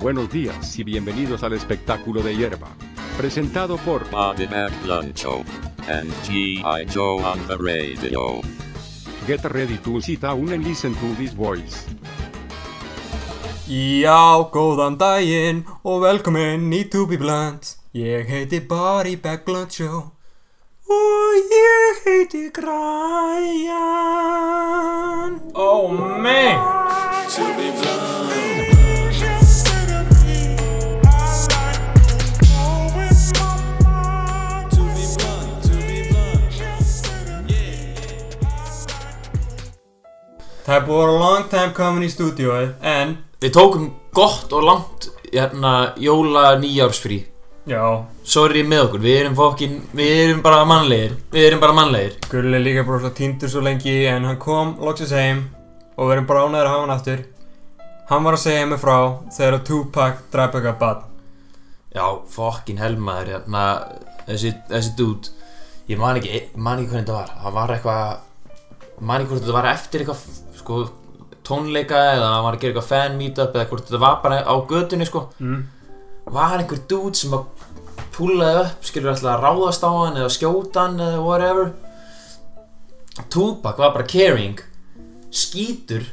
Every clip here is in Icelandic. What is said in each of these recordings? Buenos días y bienvenidos al espectáculo de hierba. Presentado por Bobby McLuncho and G.I. Joe on the radio. Get Ready to Sit Down and Listen to This Voice. Já, góðan daginn og velkomin í To Be Blunt Ég heiti Barry Becklundsjó Og ég heiti Græjan Oh man Það er búið að vera long time komin í stúdíóið En, Við tókum gott og langt hérna, jóla nýjársfrí já, Sorry með okkur, við erum fokkin, við erum bara mannlegir Við erum bara mannlegir Gulli er líka bara svo týndur svo lengi En hann kom loksins heim Og við erum bara ánæður að hafa hann aftur Hann var að segja mig frá þegar að Tupac drap eitthvað bad Já, fokkin helmaður, hérna, þessi, þessi dude Ég man ekki, man ekki hvernig þetta var Það var eitthvað, man ekki hvort þetta var eftir eitthvað, sko, tónleika Eða hann var að gera eitthvað fan meetup Eða hvort þetta var bara á götunni, sko Mm. Var einhver dude sem að púlaði upp, skilur alltaf að ráðast á hann Eða skjóta hann eða whatever Tupac var bara caring skýtur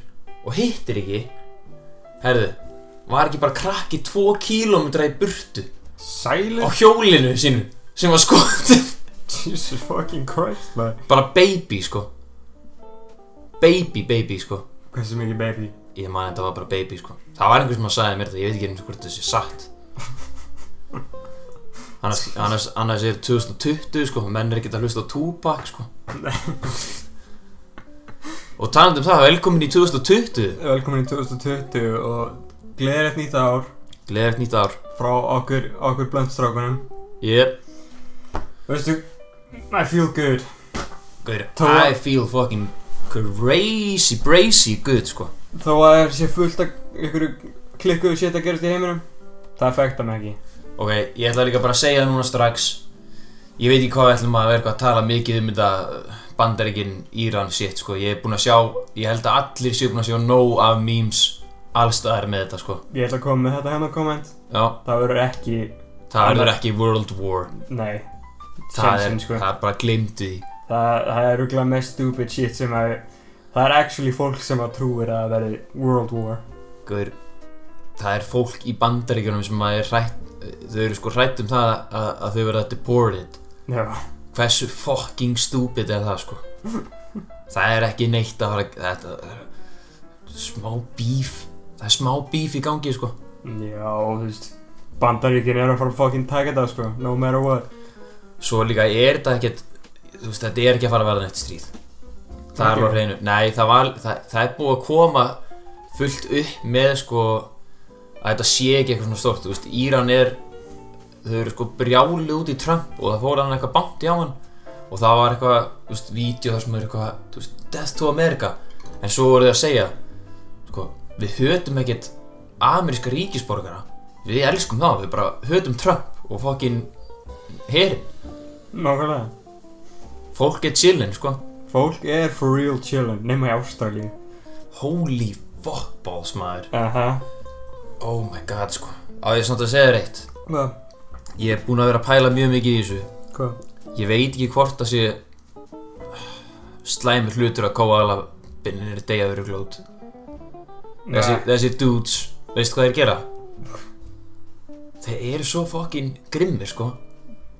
og hittir ekki herðu, var ekki bara krakki 2 km í burtu á Silent hjólinu sínu sem var skotin Jesus fucking Christ man bara baby sko baby baby sko Hversu mikið baby ég man þetta var bara baby sko það var einhver sem að sagði mér þetta, ég veit ekki eins og hvort þessi satt annars, annars, annars er 2020 sko menn er ekki að hlusta á Tupac sko og talandi um það, velkomin í 2020 Velkomin í 2020 og gleðilegt nýtt ár Gleðilegt nýtt ár frá okkur, okkur blöndstrákunum Yep Veistu, I feel good Gaur, Tóa- I feel fucking crazy, brazy good sko Þó að það sé fullt af ykkur klikkuðu shit að gerast í heiminum Það affecta mig ekki Ok, ég ætla líka bara að segja það núna strax Ég veit ekki hvað við ætlum að vera eitthvað að tala mikið um þetta Bandaríkin, Íran, shit sko Ég er búinn að sjá, ég held að allir séu búinn að sjá nóg af memes allstaðar með þetta sko Ég ætla að koma með þetta hérna komment Já, Það verður ekki, það verður ekki World War nei Það er, Sjálfsinn, sko. það er bara glimtið í Það, það er rúglega mest stupid shit sem að Það er actually fólk sem að trúir að það verði World War Gaur, það er fólk í Bandaríkjunum sem að er hrætt Þau eru sko hrætt um það að, að þau verða deported Já, hversu fucking stúpid er það sko það er ekki neitt að fara þetta er smá bíf það er smá bíf í gangi sko já, þú veist Bandaríkin er að fara að fucking taka þetta sko, no matter what svo líka er þetta ekkert þú veist þetta er ekki að fara að verða neitt stríð það er Ok. alveg á hreinu nei það var það, það er búið að koma fullt upp með sko að þetta sé ekki eitthvað svona stórt þú veist Íran er þau eru sko brjáli út í Trump og það fór hann eitthvað bant í á hann og það var eitthvað, þú veist, vídeo þar sem er eitthvað, þú veist, Death to America en svo voru þau að segja sko, við hötum ekkert ameríska ríkisborgara við elskum það, við bara hötum Trump og fokkin herin Nákvæmlega Fólk er chillin, sko Fólk er for real chillin, nema í Ástralíu. Holy fuckballs, maður Aha. Oh my god, sko Á ég samt að segja þér eitt Hvað? Ég er búinn að vera að pæla mjög mikið í þessu Hvað? Ég veit ekki hvort það sé Slæmi hlutur að koala Binnir er deyjaður í glót þessi, þessi dudes, veist hvað þeir gera? Þeir eru svo fucking grimmir, sko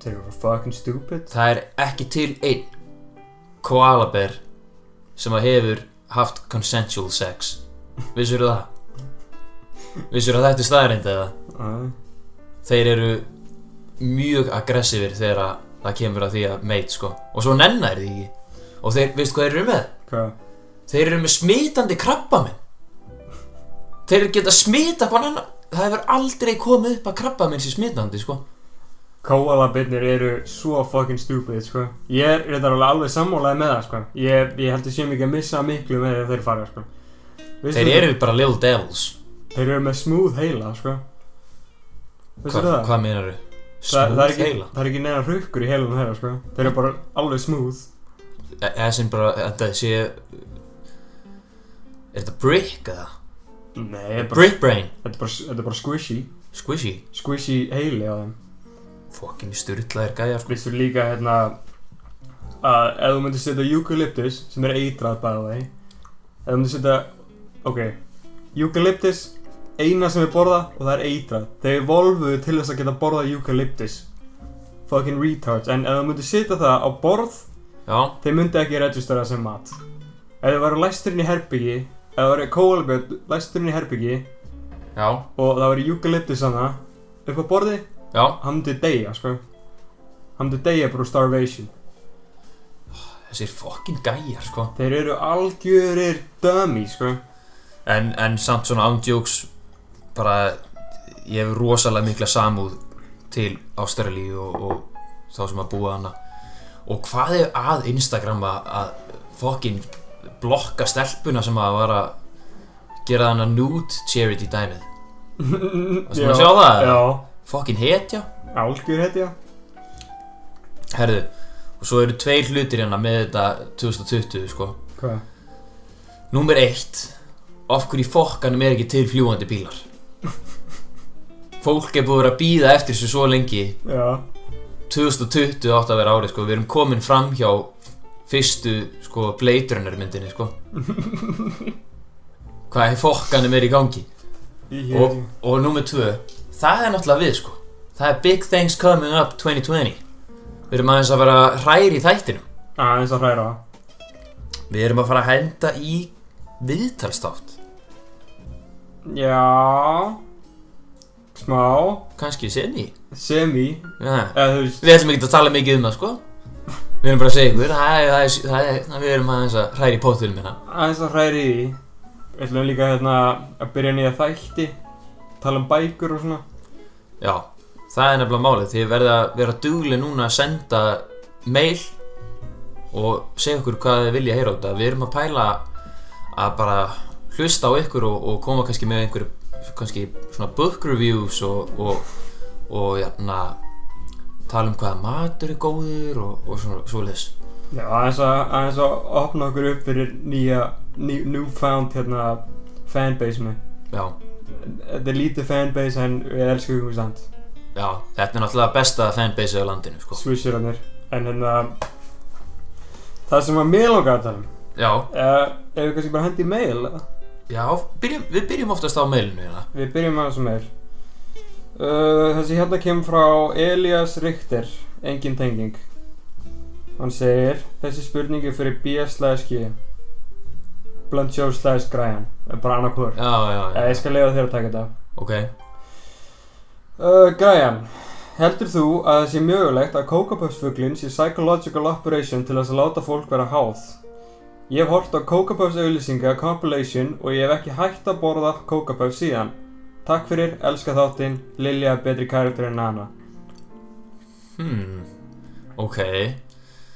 Þeir eru fucking stupid. Það er ekki til einn koalaber sem að hefur haft consensual sex Vissur það? Vissur að þetta er staðarind eða? Uh, Þeir eru mjög aggressífir þegar að það kemur að því að meit sko Og svo nennar því ekki Og þeir, veistu hvað þeir eru með? hvað? Þeir eru með smitandi krabba Þeir geta smita hvað annan Það hefur aldrei komið upp að krabba sé smitandi sko Kóalabinnir eru svo fucking stupid, sko. Ég er reyndar alveg alveg sammálaði með það, sko. Ég, ég held að sé mikið að missa miklu með því að þeir fara, sko. Veistu Þeir það? eru bara little devils Þeir eru með smooth heila, sko. Veistu Hva, það? Hvað meinaru? Það, það, er Smooth ekki, heila það er ekki neina hrukkur í heilum þeirra, sko. Þeir eru bara alveg smooth. eða sem bara, þetta sé er þetta brick eða? Nei, þetta er bara, Brick Brain þetta er bara, þetta er bara squishy Squishy Squishy heili á þeim Fokkin styrlaðir gæjar sko Vissur líka hérna að ef þú myndir setja eucalyptus sem er eitrað bæða þeim ef þú myndir setja, ok eucalyptus, eina sem við borða og það er eitrað þeir volfuðu til þess að geta borðað eucalyptus fucking retards en ef þú myndir setja það á borð Já, þeir myndi ekki registera sem mat ef þið varu læsturinn í herbyggi ef þið varu kólabjörn læsturinn í herbyggi já, og það varu eucalyptus hana upp á borði, já hann myndi deyja sko hann myndi deyja bara úr starvation Þessir fokkin gæjar sko þeir eru algjörir dummy sko en, en samt svona ándjóks bara ég hef rosalega mikla samúð til Ástralíu og, og þá sem að búa hana og hvað er að Instagram að, að fokkin blokka stelpuna sem að var að gera hana nude charity dæmið Varstu Já, búin að sjá það? Já, fokkin hetja algjör hetja herðu og svo eru tveir hlutir hérna með þetta 2020 sko Hvað? Númer eitt Af hverju í fokkanum er ekki til fljúandi bílar? Fólk er búið að vera að býða eftir þessu svo lengi Já, 2020 átt að vera árið sko Við erum komin fram hjá fyrstu sko Blade Runner myndinni sko Hvað er fokkanum er í gangi? ég Og, hefði og númer tvö Það er náttúrulega við sko Það er Big Things Coming Up 2020 Við erum aðeins að vera hræri í þættinum aðeins að hræra Við erum að fara að henda í viðtalstátt Já Smá Kanski sinni Semi Já Eða þú veist Við ætlum ekki að tala mikið um það sko Við erum bara að segja ykkur Það er, það er, það er, það við erum aðeins að hræri pótunum hérna aðeins að hræri í því Við ætlum líka hérna að byrja nýja þætti Tala um bækur og svona Já, það er nefnilega málið Þið verða að vera dugli núna að senda mail og segja ykkur hvað þið vilja heyra á þetta Við erum að pæla að bara hlusta á ykkur og, og koma kannski með einhverju kannski svona book reviews og, og, og jafna, tala um hvaða matur er góður og, og svona svoleiðis Já, aðeins að, aðeins að opna okkur upp fyrir nýja ný, Newfound hérna fanbase með Já Þetta er lítið fanbase en við elskum ykkur samt Já, þetta er náttúrulega besta fanbase á landinu, sko. Swisherarnir En hérna Það sem að mér langar að tala um Já, uh, Ef við kannski bara hendi í mail eða? já, byrjum, við byrjum oftast á mailinu hérna. Við byrjum að þessu meir uh, Þessi hérna kemur frá Elias Richter Engin tenging Hann segir Þessi spurning er fyrir B slash G Blunt show slash Græjan Það er Bara annarkur Já, já, já. Eða ég skal leiða þér að taka þetta Ok, uh, Græjan Heldur þú að það sé mögulegt að kókapöfsfuglinn sé psychological operation til þess að láta fólk vera háð? Ég hef hort á kókapöfs auðlýsinga compilation og ég hef ekki hægt að borða kókapöfs síðan. Takk fyrir, elska þáttinn, Lilja er betri karakter en Nana. hmm, ok.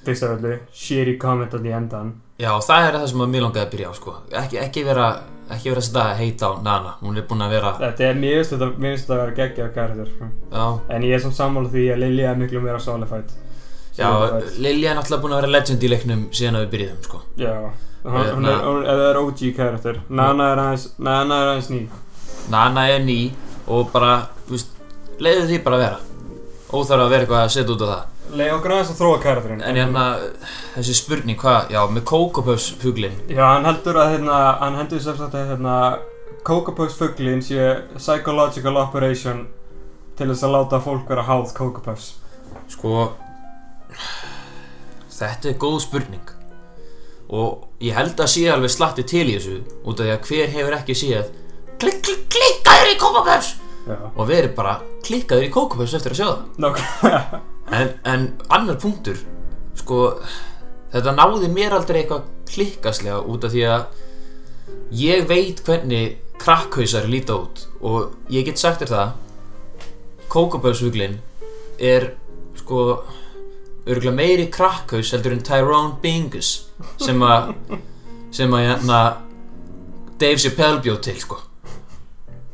Fyrst af öllu, shitty comment á því endan. Já, það er það sem að mér langaði að byrja á, sko. Ekki, ekki vera, ekki vera að setja að heita á Nana. Hún er búin að vera, Þetta er, mér finnst þetta, mér finnst þetta að vera geggjað karakter. sko. já, En ég er samt sammála því að Lilja er miklu meira solified. já, Lilja er náttúrulega búin að vera legend í leiknum síðan að við byrjuðum, sko. Já, hún, hún er, Hérna. hún, eða er OG karakter. Nana er aðeins, Nana er aðeins ný. Nana er ný og bara, þú veist, leiðu því bara að vera. Óþarf að vera eitthvað að setja út á það. Leið okkur aðeins að þróa karakterinn En hérna, þessi spurning, hvað, já, með Kókopöfs fuglinn, Já, hann heldur að hérna, hann heldur sem sagt að hérna Cocopuffs fugglin sé psychological operation til þess að láta fólk vera háð Cocopuffs Sko Þetta er góð spurning Og ég held að sé alveg slatti til í þessu Út af því að hver hefur ekki séð Klikk, klikk, klikkaður í kókaböfs Já Og verið bara klikkaður í kókaböfs eftir að sjá það Nákvæmlega En, en annar punktur Sko Þetta náði mér aldrei eitthvað klikkaslega Út af því að Ég veit hvernig krakkhausar líta út Og ég get sagt þér það Kókaböfsfuglinn er sko örgulega meiri krakkhaus heldur en Tyrone Bingus sem að sem að hérna Dave Chappelle bjóð til sko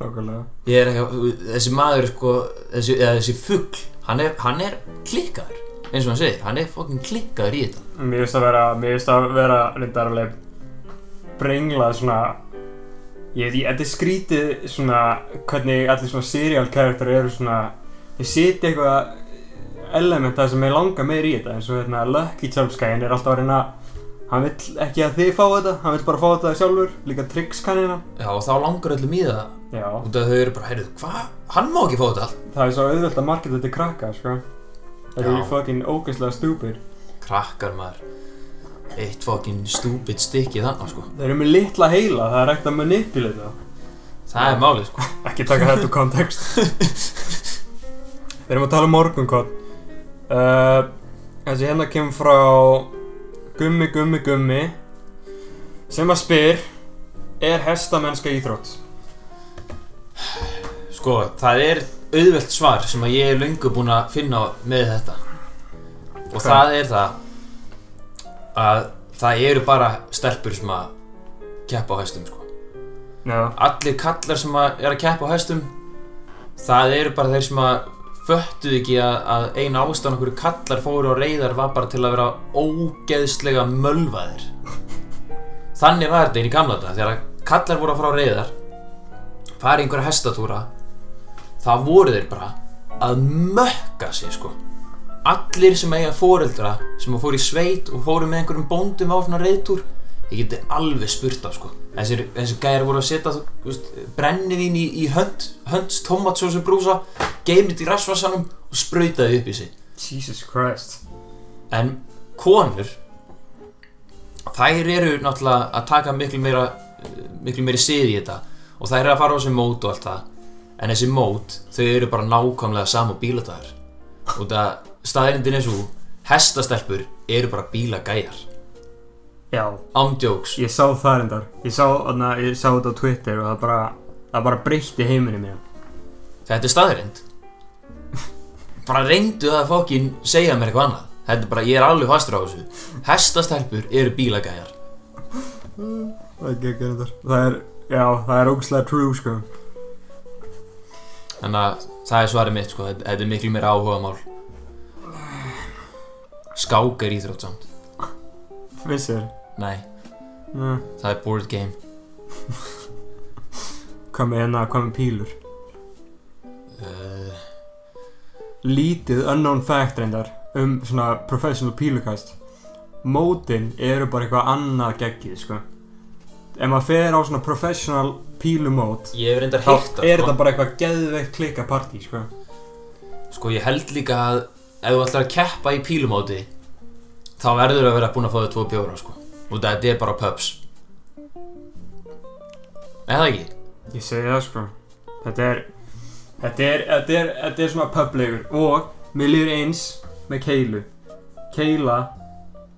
Nákvæmlega ég er ekki, þessi maður sko þessi, eða þessi fugl, hann er, hann er klikkaður, eins og hann segir hann er fokkin klikkaður í þetta Mér finnst að vera, mér finnst að vera reyndarlega brenglað svona Ég veit, ég, þetta er skrítið svona, hvernig allir svona serial karakter eru svona, þeir sitja eitthvað element það sem er langa meir í þetta, eins og hérna Lucky Charms gæinn er alltaf að reyna, hann vill ekki að þið fá þetta, hann vill bara fá þetta sjálfur, líka Trix kannina. Já, og þá langar öllum í það Já, Út af þau eru bara, heyrðu, hvað? Hann má ekki fá þetta allt það er svo auðvelt að marketa þetta til krakka, sko. Það eru Já. fucking ógeðslega stúpir. Krakkar maður Eitt fokkin stúbit stykki þannig, sko Þeir eru með litla heila, það er ekkert að manipulata. Það er málið, sko Ekki taka þetta úr kontekst Við erum að tala um morgunkott uh, Þessi hérna kemur frá Gummi, gummi, gummi Sem að spyr Er hestamennska íþrótt? Sko, það er auðvelt svar sem að ég er löngu búinn að finna með þetta Og Hvað? það er það að það eru bara stelpur sem að keppa á hæstum, sko Já allir kallar sem að er að keppa á hestum það eru bara þeir sem að föttuðu ekki að, að eina ástæðan okkur kallar fóru á reyðar var bara til að vera ógeðslega mölvaðir þannig var þetta inn í gamla þetta þegar að kallar voru að fara á reyðar fara í einhverja hestatúra það voru þeir bara að mökka sig sko allir sem eiga foreldra sem að fóru í sveit og fóru með einhverjum bóndum á svona reyðtúr ég geti alveg spurt á sko þessir, þessir gæjar voru að setja þú veist, brennivín í, í hönd hönds tomatsósu brúsa geimit í rassvarsanum og sprautaði upp í sig Jesus Christ en konur þær eru náttúrulega að taka miklu meira miklu meiri sið í þetta og þær eru að fara á þessi mót og allt það en þessi mót, þau eru bara nákvæmlega sama bíladagar og það staðirindin er svo hestastelpur eru bara bílagæjar Já ándjóks Ég sá það reyndar Ég sá, na, ég sá þetta á Twitter og það bara Það bara breytti heiminu mér Þetta er staðrind Bara reyndu að fokkin segja mér eitthvað annað Þetta er bara, ég er alveg fastur á þessu Hestastelpur eru bílagæjar Það er geggjað reyndar Það er, já, það er ógæslega true sko Þannig að það er svarið mitt sko Þetta þetta er miklu meira áhuga mál Skák er íþrótt samt Vissir Nei, Já það er board game Hvað með hérna, hvað með pílur? uh, lítið unknown fact reyndar um svona professional pílukast mótin eru bara eitthvað annað geggið sko ef maður fer á svona professional pílumót Ég hef reyndar þá heyrt það, er sko. þetta bara eitthvað geðveikt klika partí sko Sko ég held líka að ef þú ætlar að keppa í pílumóti þá verður að vera búin að fá þau tvo bjóra sko og þetta er bara pubs Er það ekki? ég segi það sko þetta er þetta er, þetta er, þetta er svona publegur og mér líður eins með keilu keila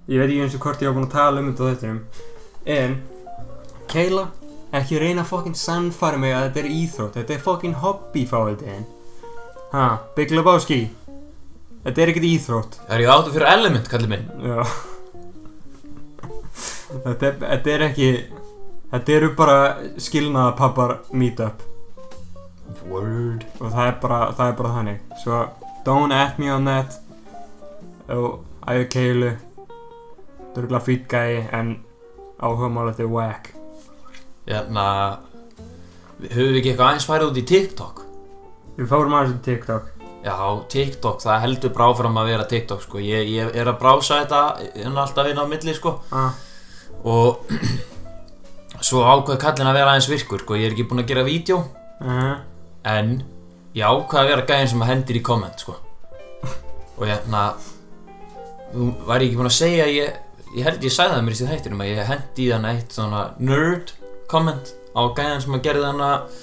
ég veit ekki eins og hvort ég á búin að tala um þetta á þetta en keila ekki reyna að fokkin sannfæra mig að þetta er íþrótt þetta er fokkin hobby fáið en ha, Big Lebowski þetta er ekkert íþrótt Það er ég áttu fyrir element, kallið minn já þetta, er- þetta er ekki þetta eru bara skilnaða pappar meetup Word og það er bara, það er bara þannig svo don't at me on that og æðu keilu dörgla fýt gæi en áhugamálið er whack Jæna Höfum Hérna, við ekki eitthvað aðeins færið út í TikTok? við fórum aðeins um TikTok Já, TikTok, það heldur bráfram að vera TikTok sko Ég, ég er að brása þetta en alltaf inn á milli sko ah, Og Svo ákvað kallin að vera aðeins virkur sko Ég er ekki búinn að gera vídeo uh, En Ég ákvað að vera gæðin sem að hendir í komment sko Og hérna, jæna Þú væri ekki búinn að segja að ég, ég held ég sagði það mér í síð hættinum að ég hendi í þannig eitt svona nerd komment Á gæðin sem að gerði þannig að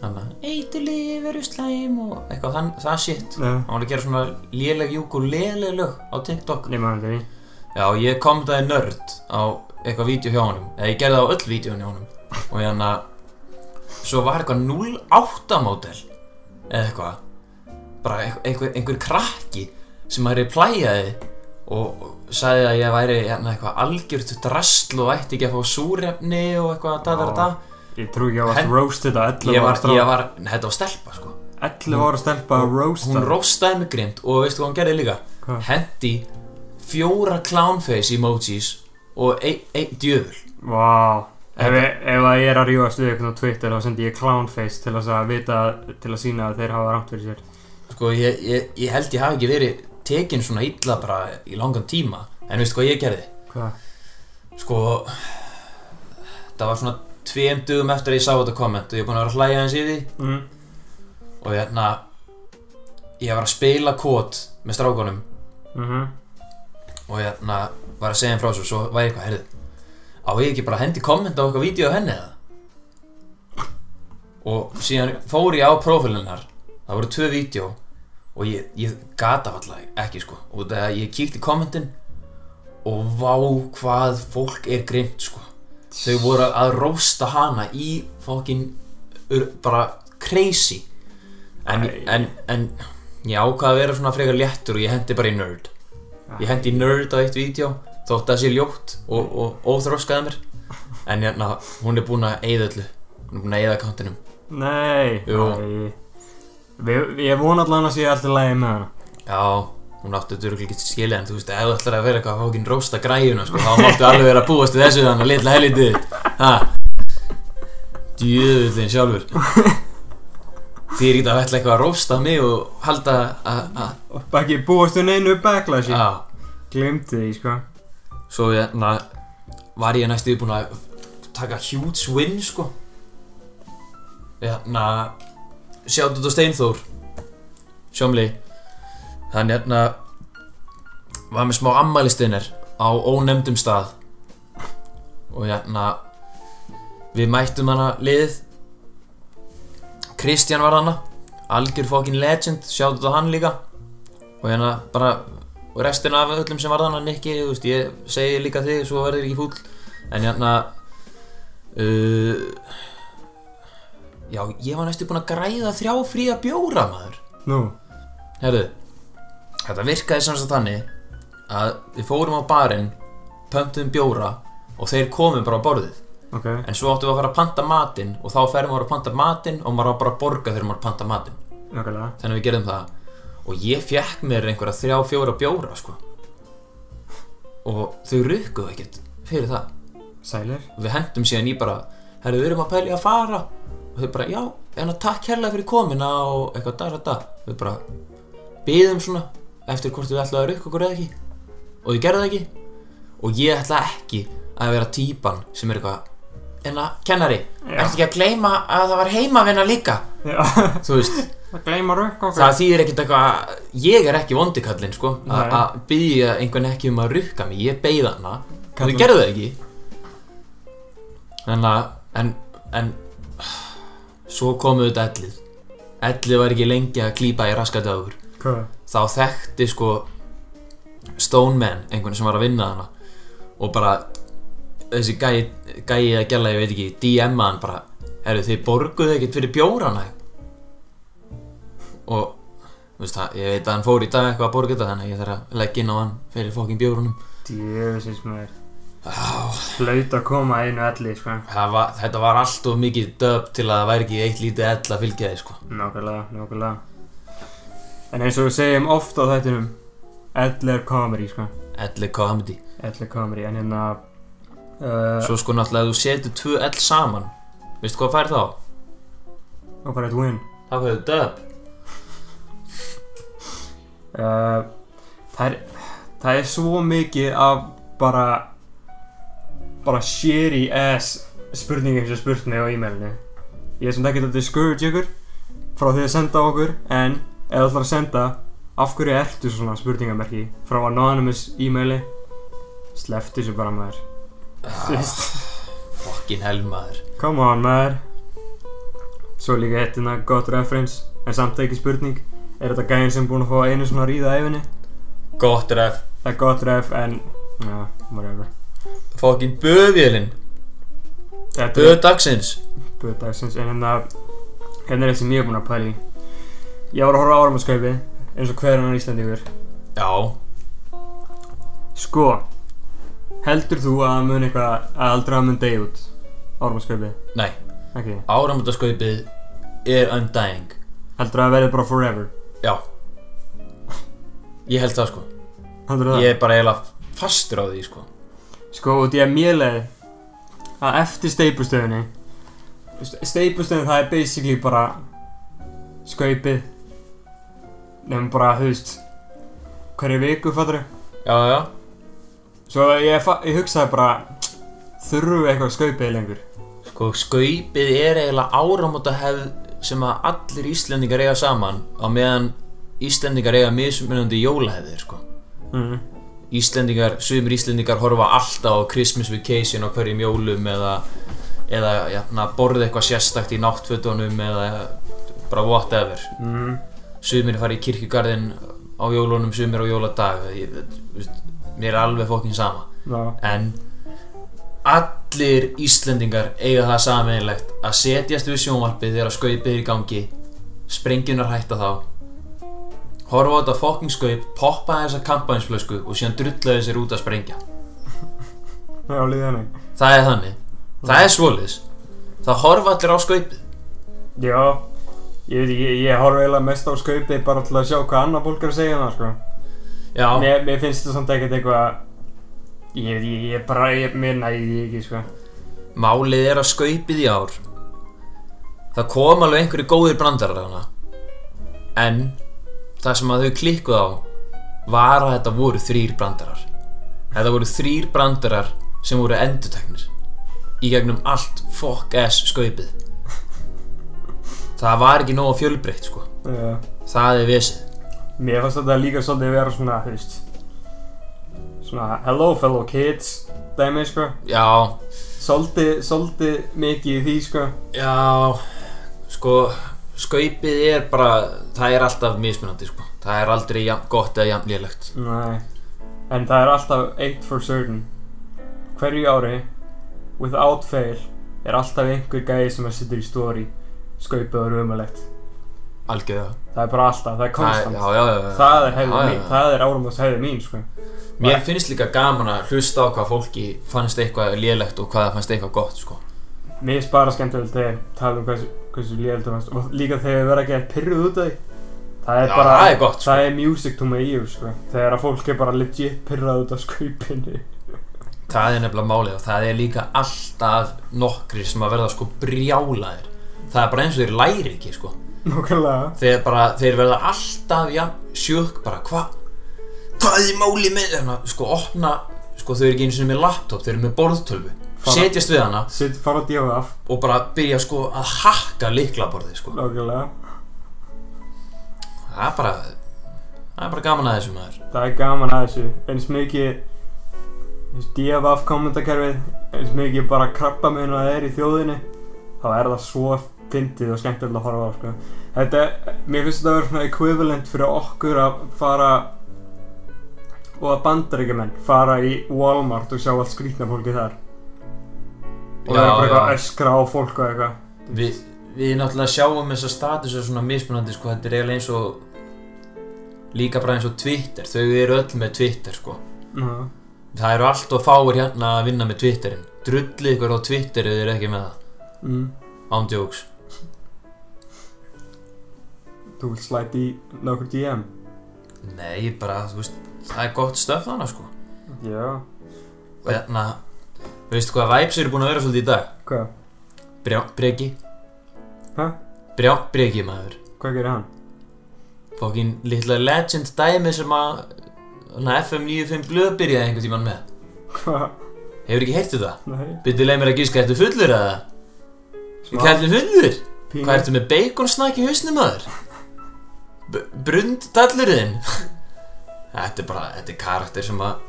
Þannig að Eitulíf eru slæm og eitthvað þann, það shit uh, Hann var að gera svona léleg júk og léleg lög á TikTok ég maður þetta í Já, ég kommentaði nörd á eitthvað vídeo hjá honum eða ég gerði það á öll vídeoinn hjá honum og hérna svo var eitthvað 08 mótel eða eitthvað bara einhver, einhver, einhver krakki sem að replæjaði og og sagði að ég væri hérna eitthvað algjört drastl og ætti ekki að fá súrefni og eitthvað da da da da. ég trú ekki að varst Hen- roasted að 11 ég var, ára ég var... var, þetta var stelpa sko 11 ára stelpa að hún roasta rostaði mig grimt og veistu hvað hún gerði líka Hvað? hendi fjóra clownface emojis og einn ein djöful vá, Ef, ef að ég er að rífast við eitthvað á Twitter þá sendi ég clownface til þess að vita til að sína að þeir hafa rámt fyrir sér Sko, ég, ég, ég held ég hafi ekki verið tekin svona illa bara í langan tíma En veistu hvað ég gerði? Hvað? Sko, það var svona tveim dugum eftir að ég sá þetta komment Og ég er búinn að vera að hlæja hans í því Mm. Og hérna, ég var að spila kót með strákunum Mm Og hérna, var að segja hann frá svo Svo var ég eitthvað, heyrðu Á ég ekki bara að hendi komment á eitthvað vídeo á henni eða? Og síðan fór ég á prófílinnar Það voru tvö vídeo Og ég, ég gata alltaf ekki sko Og það ég kíkti kommentin Og vá hvað fólk er grimt sko Þau voru að rósta hana í fokkin ur- Bara crazy En, Æ. en, en ég ákvað að vera svona frekar léttur Og ég hendi bara í nerd Ég hendi í nerd á eitt vídeo Þótt að sé ljótt og, og óþróskaði mér En hérna, hún er búin að eyða öllu Hún er búin að eyða kantinum Nei Jú. Æ. Við, Ég vona allan að sé alltaf lægi með hana Já, hún átti þetta örugglega ekki skilja en þú veist, ef þú ætlar að vera eitthvað fókin rósta græjuna sko, þá máttu alveg vera að búast við þessu þannig að litla helítið þitt Ha? Djöðullin sjálfur Þið er ekki að ætla eitthvað að rósta mig og halda að að- Og Bakki búast við neinu backlashi Já, Glimti því sko svo ég, na, var ég næstu búinn að taka huge win sko Jæna, sjátt út á Steinþór Sjómli Hann jæna var með smá ammælistinir á ónefndum stað og jæna við mættum hana liðið Kristján var hana algjör fokkin legend, sjátt út á hann líka og hérna bara og restin af öllum sem var þannig Nikki, þú veist, ég segi líka þig svo verður ekki fúll en hérna uh, já, ég var næstu búinn að græða þrjá fría bjóra maður Nú herðu, þetta virkaði sem sagt þannig að við fórum á barinn pöntum bjóra og þeir komum bara á borðið Ok en svo áttum við að fara að panta matinn og þá ferum við að panta matinn og maður á bara að borga þegar maður panta matinn Nákvæmlega þannig að við gerðum það og ég fekk mér einhverja þrjá, fjóra bjóra sko. og þau rukkuðu ekkert fyrir það Sælir og við hendum síðan í bara herru, við erum að pæli að fara og þau bara, já, en að takk herrlega fyrir komina og eitthvað dar að dar við bara byðum svona eftir hvort við ætlaði að rukka okkur eða ekki og þau gerðu það ekki og ég ætla ekki að vera típan sem er eitthvað en að kennari, Já. ertu ekki að gleyma að það var heimavinna líka Já þú veist Það gleymar rökk okkur Það þýðir ekkert eitthvað að ég er ekki vondikallinn sko a- Nei. að byggja einhvern ekki um að rukka mig, ég beigð hana og Kallinn. þau gerðu það ekki Þannig að en, en svo komu þetta ellið Ellið var ekki lengi að klípa í raskatöður Hvað? þá þekkti sko Stoneman, einhvern sem var að vinna hana og bara þessi gæi, gæi að gæla, ég veit ekki DM-a hann bara, herru þið borguðu ekkert fyrir bjórana og þú veist það, ég veit að hann fór í dag eitthvað að borga þetta þannig að ég þarf að leggja inn á hann fyrir fokkin bjórunum Djöfisins maður Hlaut að koma einu elli sko Það var, þetta var allt of mikið döp til að það væri ekki eitt lítið ell að fylgja þið sko Nákvæmlega, nákvæmlega En eins og við segjum oft á þættinum Elli er komeri sko elli comedy, Elli er komeri En hérna uh, svo sko náttúrulega ef þú setur tvö ell saman, veistu hvað fær þá? Og bara eitt win þá færðu döp uh, það, er, það er svo mikið af bara bara shitty ass spurningum sem spurt mig á e-mailinu ég er sem ekki að discourage ykkur frá því að senda á okkur en ef þú ætlar að senda af hverju ertu svona spurningamerki frá anonymous e-maili sleftu þessu bara maður Sýst fokkin helmaður Come on maður Svo líka eitt hérna gott reference En samt ekki spurning Er þetta gæðin sem búin að fá einu svona ríða æfinni? Gott ref Það er gott ref en Já, whatever Fokkin böðvélinn Þetta Böð dagsins er böð dagsins En hérna Hérna er eitt sem ég er búin að pæla í Ég var að horfa á áramannskaupi Eins og hver annar Íslandíkur Já Sko Heldur þú að það mun eitthvað Að aldrei að mun degi út Áramannskaupi Nei Ekki Áramöndaskaupið er undying Heldur að það verði bara forever Já Ég held það sko Heldur það Ég er bara eiginlega fastur á því sko Sko út í að mér leið að eftir steipustöðinni steipustöðin það er basically bara skaupið nefnum bara, þú veist hverju viku fattur já, já, svo ég, fa- ég hugsaði bara þurfu eitthvað skaupið lengur sko skaupið er eiginlega áramóta sem að allir Íslendingar eiga saman á meðan Íslendingar eiga mismunandi jólahefðir sko mm. Íslendingar, sumir Íslendingar horfa alltaf á Christmas Vacation á hverjum jólum eða, eða jafna, borða eitthvað sérstakt í náttfötunum eða bara whatever Mm. sumir fara í kirkjugarðin á jólunum, sumir á jóladag ég, veist, mér er alveg fókin sama Já. en allir Íslendingar eiga það sameinlegt að setjast við sjónvarpið þegar skaupið er í gangi sprengjunnar hætta þá horfa á þetta fokking skaup poppa þessa kampansflösku og síðan drullaði sér út að sprengja það er á liðið hannig það er þannig, það er svolis það horfa allir á skaupið Já, ég veit ekki, ég, ég horf eiginlega mest á skaupið bara til að sjá hvað annar fólk er að segja um það, sko. já, Mér, mér finnst þetta samt ekkert eitthvað, ég veit ekki, ég bara, ég, mér næði því ekki, sko. Málið er að skaupið í ár Það kom alveg einhverju góðir brandarar hana En Það sem að þau klikkuð á Var að þetta voru þrýr brandarar Þetta voru þrýr brandarar Sem voru endurteknir Í gegnum allt fuck ass skaupið Það var ekki nóg fjölbreytt sko Uh, Það er vesið mér fannst þetta líka svolítið vera svona, þú veist, svona hello fellow kids dæmi, sko. Já, Svolítið, svolítið mikið í því, sko. Já, sko, skaupið er bara, það er alltaf mismunandi, sko. Það er aldrei jafn, gott eða jafn lélegt. Nei, en það er alltaf eitt for certain. Hverju ári, without fail, er alltaf einhver gæði sem að sittur í stóri, skaupið og rumalegt. Algjörða. Það er bara alltaf, það er konstant. Já, já, já. já. það er, hefði, Já, já, mín, já. það er árum hefði mín, sko. Mér finnst líka gaman að hlusta á hvað fólki fannst eitthvað lélegt og hvað það fannst eitthvað gott, sko. Mér finnst bara skemmtilegt þegar tala um hversu, hversu lélega þú veist og líka þegar við verðum að gera pyrruð út af því. Það er Já, bara, það er gott, sko. það er music to my ears, sko. Þegar að fólk er bara legit pyrrað út af skaupinu. Það er nefnilega málið og það er líka alltaf nokkrir sem að verða, sko, brjálaðir. Það er bara eins og þeir læri ekki, sko. Nókulega. þeir bara, þeir verða alltaf ja, sjök bara, hva hvað er málið með hana, sko, opna sko, þau eru ekki eins og með laptop, þau eru með borðtölvu Fara. setjast við hana Sitt fara að djóða af, og bara byrja sko að hakka liklaborði, sko, nókulega. það er bara það er bara gaman að þessu maður Það er gaman að þessu. Eins mikið DFF kommentakerfið, eins mikið bara krabba meina það er í þjóðinni, þá er það svo fyndið og skemmtilegt að horfa á, sko. Þetta, mér finnst þetta að vera svona equivalent fyrir okkur að fara og að bandaríkjumenn fara í Walmart og sjá allt skrýtna fólki þar og vera bara eitthvað að öskra á fólk og eitthvað. við, við náttúrulega sjáum þessa status og svona mismunandi, sko, þetta er eiginlega eins og líka bara eins og Twitter þau eru öll með Twitter, sko Ná, það eru allt og fáir hérna að vinna með Twitterin drullið ykkur á Twitter ef þið eru ekki með það mm, Ándjóks þú vilt slæti í nokkur DM. Nei, bara, þú veist, það er gott stöf þannig, sko Já, Og hérna, veistu hvað vibes eru búin að vera svolítið í dag? hvað? Brjá, breki Hæ? Brjá, breki, maður Hvað gerir hann? Fokkin litla legend dæmi sem að Þannig FM 95 blöð byrjaði einhvern tímann með Hvað? Hefur ekki heyrtu það? Nei, Byrju leið mér að gíska, ertu fullur eða? smá. Við kældum fullur Pínu. Hvað ertu með beikonsnakk í hausnum maður? B brunddallurinn Þetta er bara, þetta er karakter sem að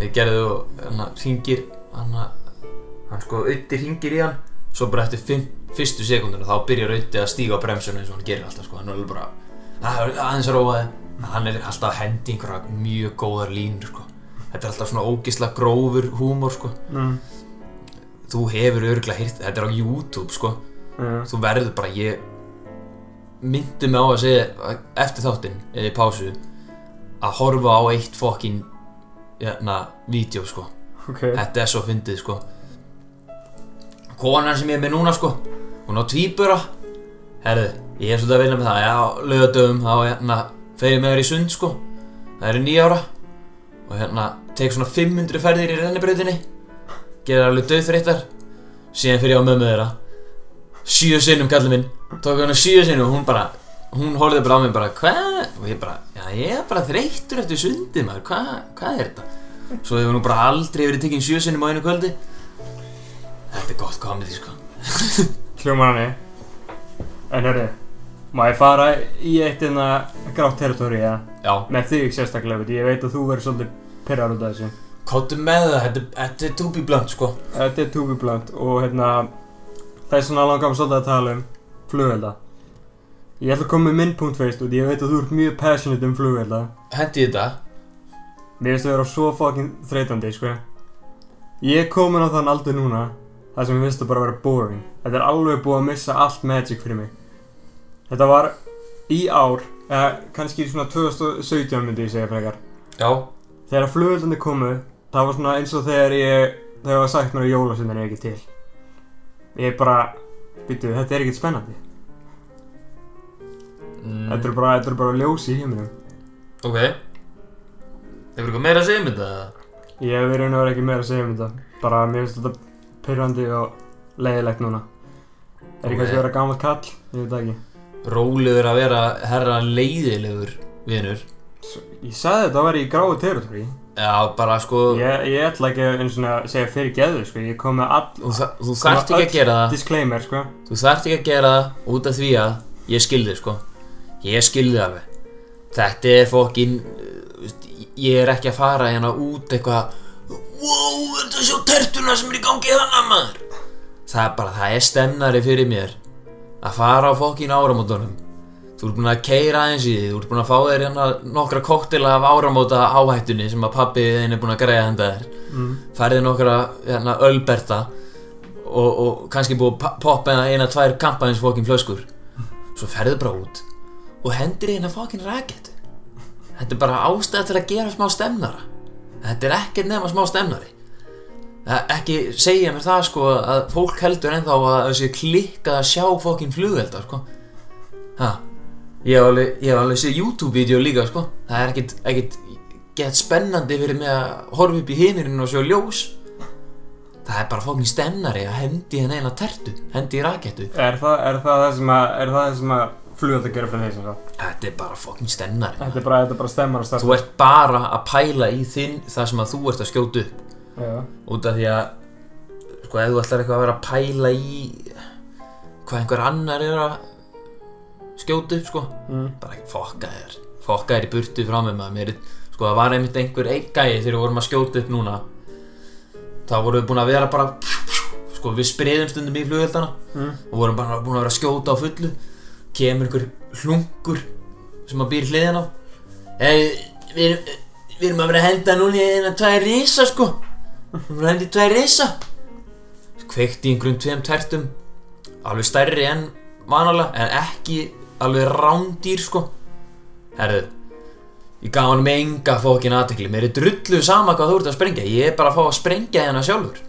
Þeir gerðu og hann hringir hann, hann sko, Ötti hringir í hann Svo bara eftir fimm, fyrstu sekunduna þá byrjar Ötti að stíga á bremsuna eins og hann gerir alltaf sko Hann er alveg bara, "Að- aðeins að róa þið Hann er alltaf að hendi einhverja mjög góðar línur sko Þetta er alltaf svona ógisla grófur húmor sko Mm. Þú hefur örgulega hýrt, þetta er á YouTube sko Já, þú verður bara ég myndi mig á að segja að eftir þáttinn eða í pásu að horfa á eitt fokkin jæna, vídeo sko ok, þetta er svo fyndið sko konan sem ég er með núna sko hún á tvíbura herðu, ég er svolítið að vinna með það já, lögadöfum, þá jæna fer ég með þér í sund sko það eru nýjára og hérna, tek svona 500 ferðir í rennibrautinni gera alveg döðþreyttar síðan fyrir ég á mömmu þeirra sjö sinnum kallið minn tók hann sjö sinnum og hún bara hún horfði bara á mig bara hvað og ég bara já ég er bara þreyttur eftir sundið maður hvað hvað er þetta svo hefur hún bara aldrei verið tekinn sjö sinnum á einu kvöldi þetta er gott komið sko Hljómar hann í En herri, má ég fara í eitt inna grátt territóri, ja? já Með þig sérstaklega, veit, ég veit að þú verður svolítið pyrrar út af þessu kóttu með það þetta, þetta er tóbi blönd sko Þetta er Tubi Blunt og hérna Þess vegna langar mig svolítið að tala um flugvelda Ég ætla að koma með minn punkt fyrst út, ég veit að þú ert mjög passionate um flugvelda hendi í þetta Mér finnst það vera svo fucking þreytandi, sko Ég er komin á þann aldur núna Það sem mér finnst það bara vera boring Þetta er alveg búið að missa allt magic fyrir mig Þetta var í ár eða kannski svona 2017 myndi ég segja frekar já Þegar flugöldandi komu Það var svona eins og þegar ég Þegar var sagt mér að jólasundin er ekki til Ég bara Býtu, þetta er ekkert spennandi mm, Þetta er bara, þetta er bara ljós í heiminum ok hefur eitthvað meira að segja um þetta eða? Ég hef verið að vera ekki meira að segja um þetta Bara mér finnst þetta pyrrandi og leiðilegt núna Er ég Ok. kannski að vera gammal kall? Ég veit það ekki rólegur að vera herra leiðilegur vinur S- Ég sagði þetta að vera í gráu territory já bara sko ég, ég ætla ekki að einu svona segja fyrir geðu sko. Ég kom með all þú, þa- þú þarft ekki að gera það disclaimer sko. þú þarft ekki að gera það út af því að ég skildi sko ég skildi alveg þetta er fokkin uh, veist, ég er ekki að fara hérna út eitthvað wow, þetta sjá tertuna sem er í gangi þannig maður það er bara, það er stemmari fyrir mér að fara á fokkin áramótunum þú ert búin að keira aðeins í því þú ert búin að fá þér hérna nokkra koktela af áramóta áhættunni sem að pappi þinn er búin að greiða henda þér mm. færði nokkra hérna, ölberta og, og kannski búið að pa- poppa eina, eina tvær kampanins fokkin flöskur svo ferðu bara út og hendur eina fokkin raket þetta er bara ástæða til að gera smá stemnara þetta er ekkert nema smá stemnari E- ekki segja mér það sko að fólk heldur ennþá að þessi klikka að sjá fokkin flugveldar sko ha ég hef alveg, ég hef alveg séð YouTube-vídeó líka sko það er ekkit, ekkit gett spennandi fyrir mig að horfa upp í hinirinn og sjá ljós það er bara fókin stennari að hendi henni eina tertu hendi í rakettu er, það, er það það sem að, er það það sem að flugöld að gera fyrir þeir sem sagt? þetta er bara fókin stennari Þetta er bara, þetta er bara stemmar og þú e- stemmar ert bara að pæla í þinn það sem að þú ert að skjóta upp Já, út af því að sko ef þú ætlar eitthvað að vera að pæla í hvað einhver annar er að skjóta upp sko mm. bara ekki fokka þér fokka þér í burtu frá mig maður mér er, sko það var einmitt einhver einn gæi þegar við vorum að skjóta upp núna þá vorum við búin að vera bara sko við spriðum stundum í flugveldana Mm. og vorum bara búin að vera að skjóta á fullu kemur einhver hlungur sem að býr hliðin á hey, við, erum, við erum að vera að henda núna í þeirna tvær risa sko við erum að henda í tvær risa kveikti í einhverjum tveim tertum alveg stærri en vanalega en ekki alveg rándýr sko herðu ég gaf hann með enga fókin aðtekli mér er drullu sama hvað þú ert að sprengja ég er bara að fá að sprengja hérna sjálfur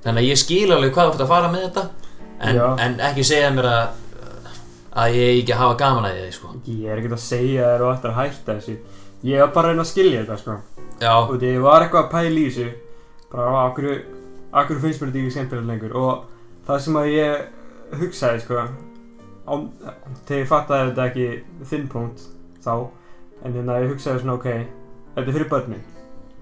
þannig að ég skil alveg hvað þú ert að fara með þetta en, Já. en ekki segja mér að að ég eigi ekki að hafa gaman að þið sko Ég er ekkert að segja þér og ætti að hætta þessu Ég var bara að reyna að skilja þetta sko já, Og því ég var eitthvað að pæla í þessu Bara á hverju Akkur finnst mér þetta ekki skemmtilegt lengur Og það sem að ég hugsaði sko á, Þegar ég fattaði þetta ekki Þinn punkt þá En þannig að ég hugsaði svona ok Þetta er fyrir börnin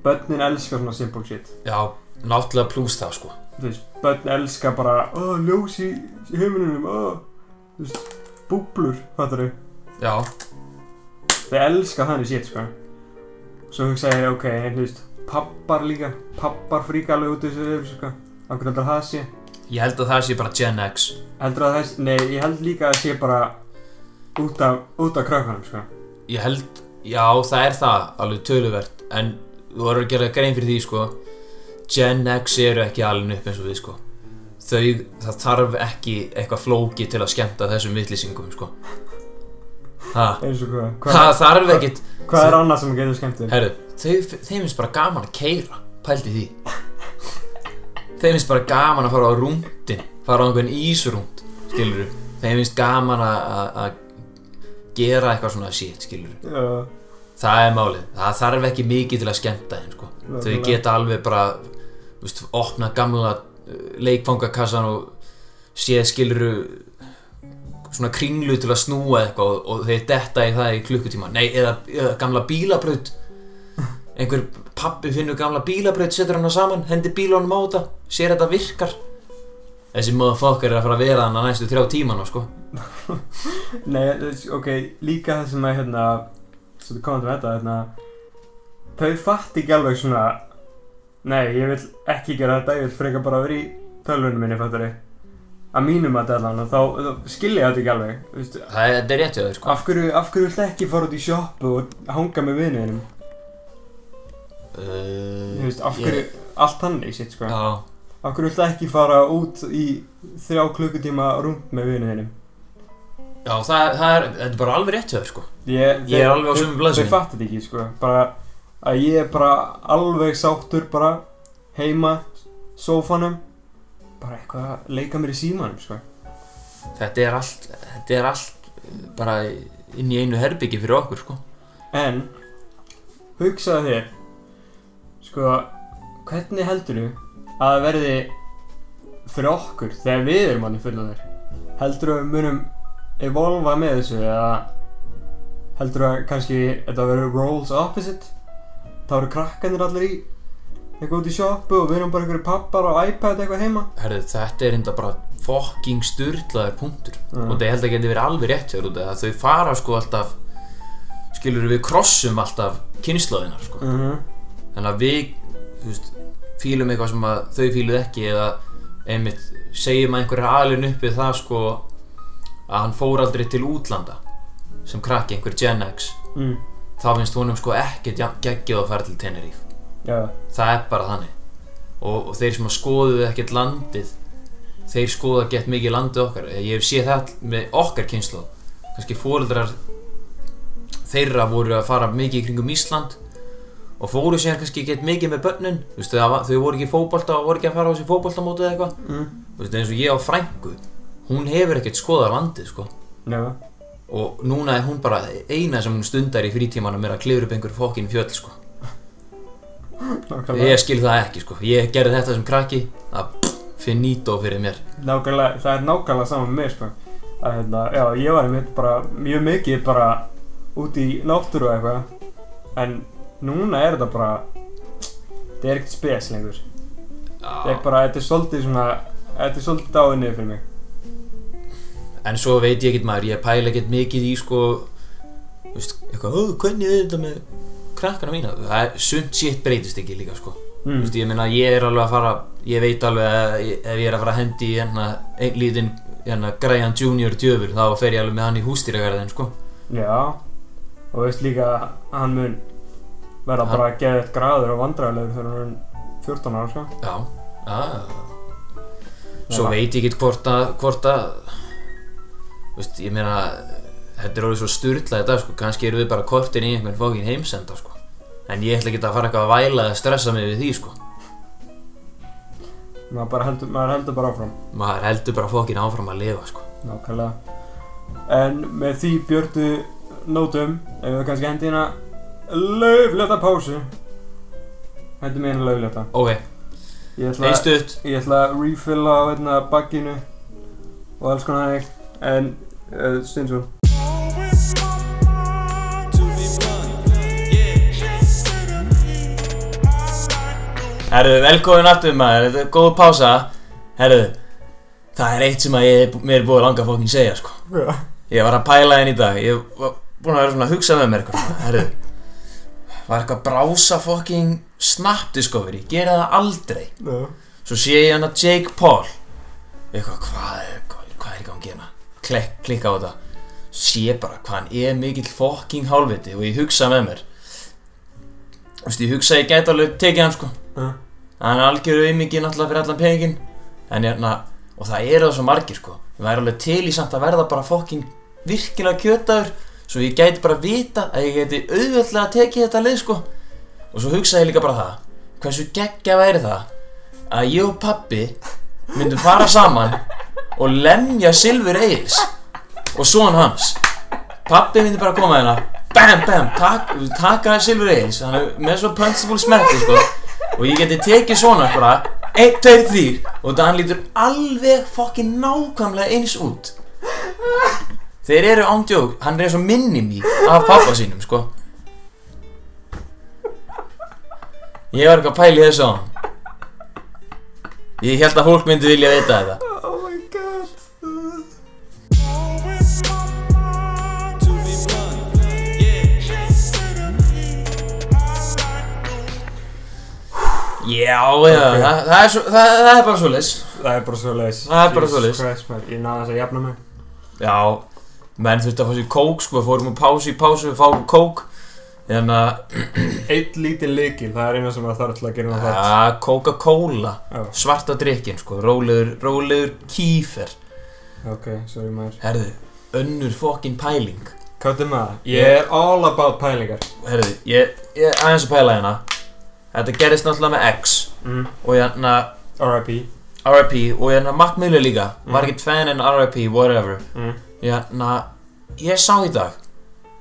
Börnin elskar svona simple shit já, náttúrulega plús það sko þú veist, börn elska bara ó, ljós í í heiminum ó, þú veist, búblur fattar þau, já, þau elska þannig sétt sko svo hugsaði ég, ok, en þú veist pappar líka, pappar fríka alveg út í þessu, sko, af hvernig heldur að það sé ég held að það sé bara Gen X heldur að þess, nei, ég held líka að sé bara út af, út af krökkunum, sko ég held, já það er það alveg töluvert, en þú voru að gera grein fyrir því sko Gen X eru ekki alveg upp eins og við sko þau, það þarf ekki eitthvað flóki til að skemmta þessum vittlýsingum sko ha, eins og hvað, það hvað, þarf ekkit hvað er annað sem getur skemmt þér? herru, þau, þeim finnst bara gaman að keira pældi því þeim finnst bara gaman að fara á rúndin fara á einhvern ísrúnd, skilur þeim finnst gaman að- að að gera eitthvað svona shit, skilur Já, Það er málið, það þarf ekki mikið til að skemmta þeim sko. Þau Nákvæmlega. geta alveg bara þú veist, opna gamla eh, leikfangakassan og séð skiluru svona kringlu til að snúa eitthvað og, og þeir detta í það í klukkutíma nei, eða, eða gamla bílabraut einhver pappi finnur gamla bílabraut setur hana saman, hendir bílunum á þetta sér þetta virkar þessi motherfucker er að fara að vera hana næstu þrjá tímana sko Nei, þess- ok, líka það sem að hérna, svo þið komum til þetta hérna, þau fatt ekki alveg svona Nei, ég vil ekki gera þetta, ég vil freka bara að vera í tölvunum minni, fattari Að mínum að dæla hann og þá, þá skilja ég þetta ekki alveg þú veist, það er, þetta er rétt hjá þér sko Af hverju, af hverju viltu ekki fara út í sjoppu og hanga með vinuðinum? uh, Þú veist, af hverju, allt þannig sitt, sko já, Af hverju viltu ekki fara út í þrjá klukkutíma rúnd með vinuðinum? já það, það er, þetta er bara alveg rétt hjá þér sko Ég, Ég er alveg á sömu blaðsíðu. Þau fattu þetta ekki, sko Bara að ég er bara alveg sáttur bara heima, sófanum bara eitthvað að leika mér í símanum, sko þetta er allt, þetta er allt eh, bara inn í einu herbyggi fyrir okkur sko En hugsaðu þér sko, hvernig heldur þú að það verði fyrir okkur þegar við erum manni fullorðir? Heldur þú að við munum evolva með þessu eða heldur þú að kannski þetta verður roles opposite? Það eru krakkanir allir í eitthvað út í sjoppu og við erum bara einhverju pappar á iPad eitthvað heima Herðu, þetta er enda bara fokking styrlaður punktur Mm. og þetta ég held að geti verið alveg rétt hjá þér út af því að þau fara sko alltaf skilur við krossum alltaf kynslaðinar sko uh -huh. þannig að við þú veist, fílum eitthvað sem að þau fíluð ekki eða einmitt segjum að einhver er alin upp við það sko að hann fór aldrei til útlanda sem krakki einhver Gen X mm. þá finnst honum sko ekkert jafn geggið að fara til Tenerife Já, það er bara þannig og, og þeir sem að skoðuðu ekkert landið þeir skoða gett mikið landið okkar Eh, ég hef séð það með okkar kynslu kannski fóreldrar þeirra voru að fara mikið í kringum Ísland og fóru síðan kannski gett mikið með börnin Þú veist, það var- þau voru ekki í fótbolta og voru ekki að fara á þessi fótboltamóti eða eitthvað mm. Þú veist, eins og ég á frængu hún hefur ekkert skoðað landið sko já, og núna er hún bara eina sem hún stundar í frítímanum er að klifra upp einhver fokkin fjöll sko nákvæmlega Ég skil það ekki sko, ég gerði þetta sem krakki að finito fyrir mér nákvæmlega, það er nákvæmlega saman með mér sko. að hérna, já, ég var einmitt bara mjög mikið bara út í náttúru og eitthvað en núna er þetta bara þetta er ekkert spes lengur þetta er bara, þetta er svolítið svona þetta er svolítið dáið niður fyrir mig En svo veit ég ekkert maður, ég pæla ekkert mikið í sko þú veist, eitthvað, "Ó, hvernig er þetta með krakkana mína Það er, sumt shit breytist ekki líka sko Þú mm. veist, ég meina, ég er alveg að fara, ég veit alveg að ég- ef ég er að fara að hendi í hérna einn lítinn, hérna, Græjan Junior djöfur þá fer ég alveg með hann í hústýragarðin sko já, og veist líka að hann mun verða Hann- bara að gefa eitt graður og vandræðilegur þegar hann er 14 ára sko. Já, já Svo Já. veit ég ekki hvort að hvort að þú veist, ég meina þetta er orðið svo styrla þetta sko, kannski erum við bara kortin í einhvern fókin heimsenda sko. en ég ætla ekki að fara eitthvað að væla eða stressa mig við því sko. maður, bara heldur, maður heldur bara áfram maður heldur bara fókin áfram að lifa sko. Nákvæmlega En með því björtu nótum ef við kannski hendi hérna lauflétta pásu Hendi mig hérna lauflétta ok, Ég ætla, einn stutt ég ætla að refilla á hérna bagginu og alls konar eitt en uh, Stinsson Herðu, velkomin aftur maður, þetta er góð pása Herðu, það er eitt sem að ég, mér er búið að langa fókin segja sko. Ég var að pæla henni í dag Ég var búinn að vera svona að hugsa með mér eitthvað svona, Herru Var eitthvað að brása fucking Snap Discovery Gera það aldrei Svo sé ég hann að Jake Paul Eitthvað hvað er Hvað er í gangi hérna Klikk, klikka á þetta Sé bara hvað hann er mikill fucking hálfviti Og ég hugsa með mér Þú veist, ég hugsa að ég gæti alveg tekið hann sko Já. Hann er algjöru aumingi náttúrulega fyrir allan peningin En hérna Og það eru það svo margir sko Ég væri alveg til í samt að verða bara fucking virkilega kjötaður svo ég gæti bara vita að ég gæti auðvöldlega að teki þetta lið sko og svo hugsaði ég líka bara það hversu geggja væri það að ég og pappi myndum fara saman og lemja Silfur Egils og son hans pappi myndi bara koma hérna bam bam tak, taka Silfur Egils hann er með svo punchable smerti sko og ég geti tekið svona bara 1, 2, 3 og þetta hann lítur alveg fokkin nákvæmlega eins út þeir eru ándjók hann er eins og minnimi af pappa sínum sko ég var eitthvað að pæla í þessu á hann ég held að fólk myndi vilja vita þetta Oh my god já, já, það, það, er svo, það, það er bara svo leys Það er bara svo leis Það er bara svoleiðis. Ég náði þess að jafna mig Já, menn þurfti að fá sér kók sko, fórum úr pásu í pásu, við fáum kók Hérna, Þannig að, Eitt lítið leikil, það er eina sem það þarf til að gera það að Coca-Cola, Já. svarta drikkin sko, rólegur, rólegur kýfer Ok, sorry maður Herðu, önnur fokkin pæling Káttu með það Ég er all about pælingar Herðu, ég, ég aðeins að pæla hérna Þetta gerist náttúrulega með X mm. og hérna R.I.P. R.I.P. og hérna Mac Miller líka Var Mm. ekkert fan en R.I.P. whatever Mm. Hérna, ég sá í dag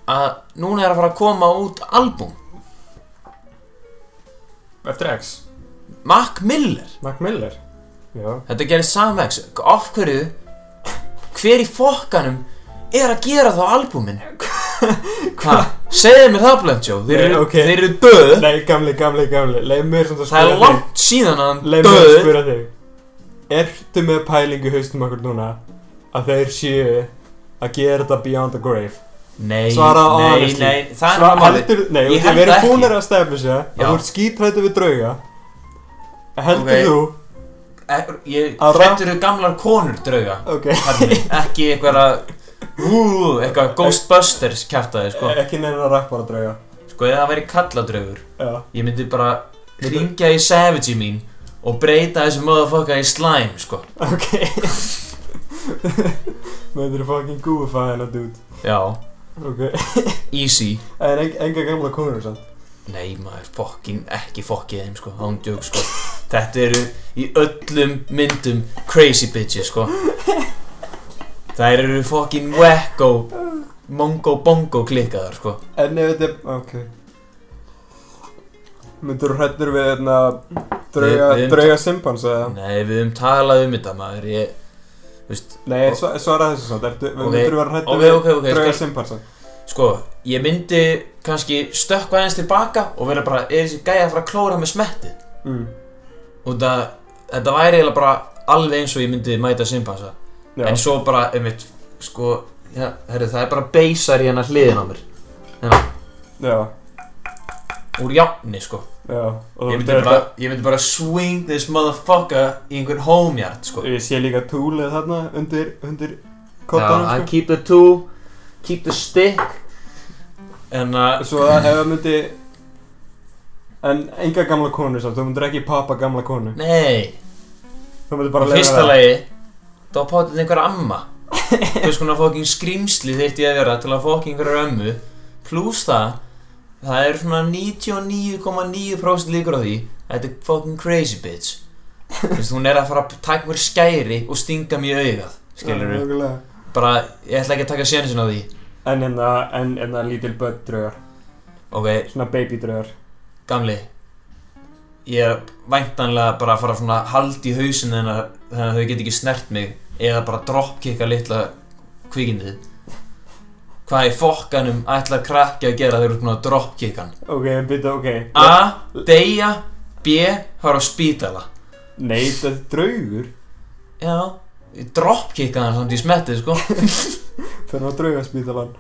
að núna er að fara að koma út album Eftir X Mac Miller Mac Miller Já Þetta gerir Samex Af hverju Hver í fokkanum Er að gera þá albumin Hvað? Segðu mér það Blendjó Þeir eru, Nei, ok. þeir eru döð Nei, gamli, gamli, gamli Leif mér samt að Það spyrja er langt síðan að hann Leif mér að döð spyrja þig Ertu með pælingu haustum okkur núna Að þeir séu að gera þetta beyond the grave Nei, Svaraðu nei, honestly. nei Það Sva, er alveg heldur, nei, Ég ég held held það ekki ekki. Við erum að stefna sér að Já. þú ert skítrættu við drauga Heldur Ok. þú Er- eh, Ég Aðra? hrættur við gamlar konur drauga Ok, Þarna, Ekki eitthvað að Ú, eitthvað Ghostbusters kæftaði sko ekki neina að rappara drauga Sko ef það væri kalladraugur Já, Ég myndi bara ringja í Savage mín Og breyta þessu motherfucker í slime sko ok Með þeir fucking goofy hennar dude Já, Ok, easy en en- enga gamla konur samt Nei maður, fokkin, ekki fokkið þeim sko, ándjók sko Þetta eru í öllum myndum crazy bitches sko Þær eru fokkin wacko, mongo bongo klikkaðar sko En ef þetta, ok Myndur þú hrættur við hérna drauga, Við- við- drauga simpans eða? Nei, við höfum talað um þetta maður, ég, þú veist Nei, en sva- svara þessu samt, ertu, Ok, okay. myndur þú vera hrættur ok, við ok, ok, drauga skal- simpansa? Sko, ég myndi kannski stökkva aðeins tilbaka og vera bara, er þessi gæja að fara að klóra með smetti Mm, Og það, þetta væri eiginlega bara alveg eins og ég myndi mæta simpansa já, En svo bara, einmitt, sko, ja, herri, það er bara beisar í hennar hliðin á mér já, Úr jafni, sko já Og Ég þú myndi bara, ég myndi bara swing this motherfucker í einhvern homeyard, sko Ég sé líka túlið þarna undir, undir Já, I kottanum, sko keep the two, keep the stick En að, Svo að ef það myndi En enga gamla konur samt, þú myndur ekki pappa gamla konu nei, Þú myndur bara bara leyfa fyrsta það. lagi Þá pátið einhver amma Hvers konar fokkin skrýmsli þyrfti ég að vera til að fokkin einhverjar ömmu Plús það, það er svona 99,9% líkur á því að Þetta er fokkin crazy bitch Þú veist, hún er að fara að taka mér skæri og stinga mér í augað Já, Skilur við nákvæmlega. Bara, ég ætla ekki að taka sénsinn á því En hérna, en hérna lítil börn draugar Ok, Svona baby draugar gamli Ég er væntanlega bara að fara svona hald í hausin hennar Þannig að þau get ekki snert mig Eða bara dropkicka litla kvikindið Hvað í fokkanum ætlar krakki að gera þegar þú ert búin að dropkicka hann? Ok, byrja, ok A. Deyja B. Fara á spítala Nei, þetta er draugur Já Dropkicka hann samt í smettið sko Fyrir að draugaspítalan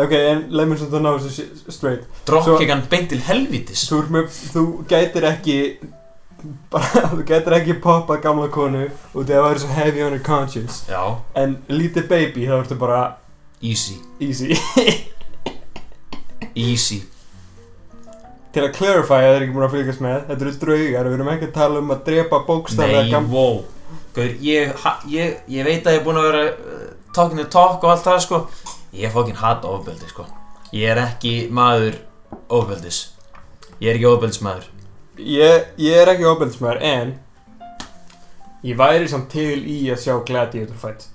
Ok, en leið mér svona að ná þessu s- straight Dropkicka hann beint til helvitis Þú, ert með, þú gætir ekki bara, Þú gætir ekki poppa gamla konu Og það væri svo heavy on her conscience Já En lítið baby, þá ertu bara Easy easy Easy Til að clarify að það er ekki múin að fylgjast með Þetta eru draugar, við erum ekki að tala um að drepa bókstaflega Nei, gamla wow Gaur, ég, ha- ég, ég veit að ég er búinn að vera uh, talking the talk og allt það sko Ég fokkin hata ofbeldi sko Ég er ekki maður ofbeldis Ég er ekki ofbeldismaður ég, ég er ekki ofbeldismæður en ég væri samt til í að sjá gladiator fight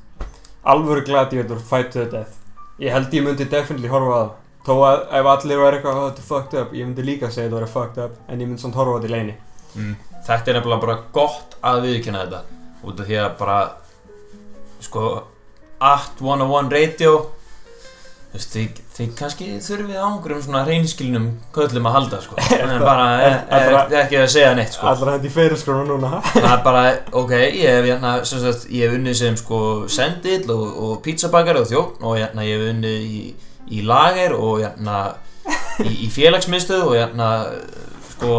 alvöru gladiator fight to the death ég held ég myndi definitely horfa á það þó að ef allir væri eitthvað oh, þetta er fucked up ég myndi líka segja þetta væri fucked up en ég myndi samt horfa á þetta í leini mm. þetta er nefnilega bara gott að viðkynna þetta út af því að bara sko at 101 radio þú veist, þið, þið kannski þurfið ángrum svona reynskilinum köllum að halda sko en bara er- er, er, er ekki að segja neitt sko Allra hendi fyrir skrona núna það er bara, ok, ég hef hérna, sem sagt, ég hef unnið sem sko sendill og, og pizzabakar og þjófn og hérna ég hef unnið í, í lager og hérna í, í félagsmiðstöð og hérna sko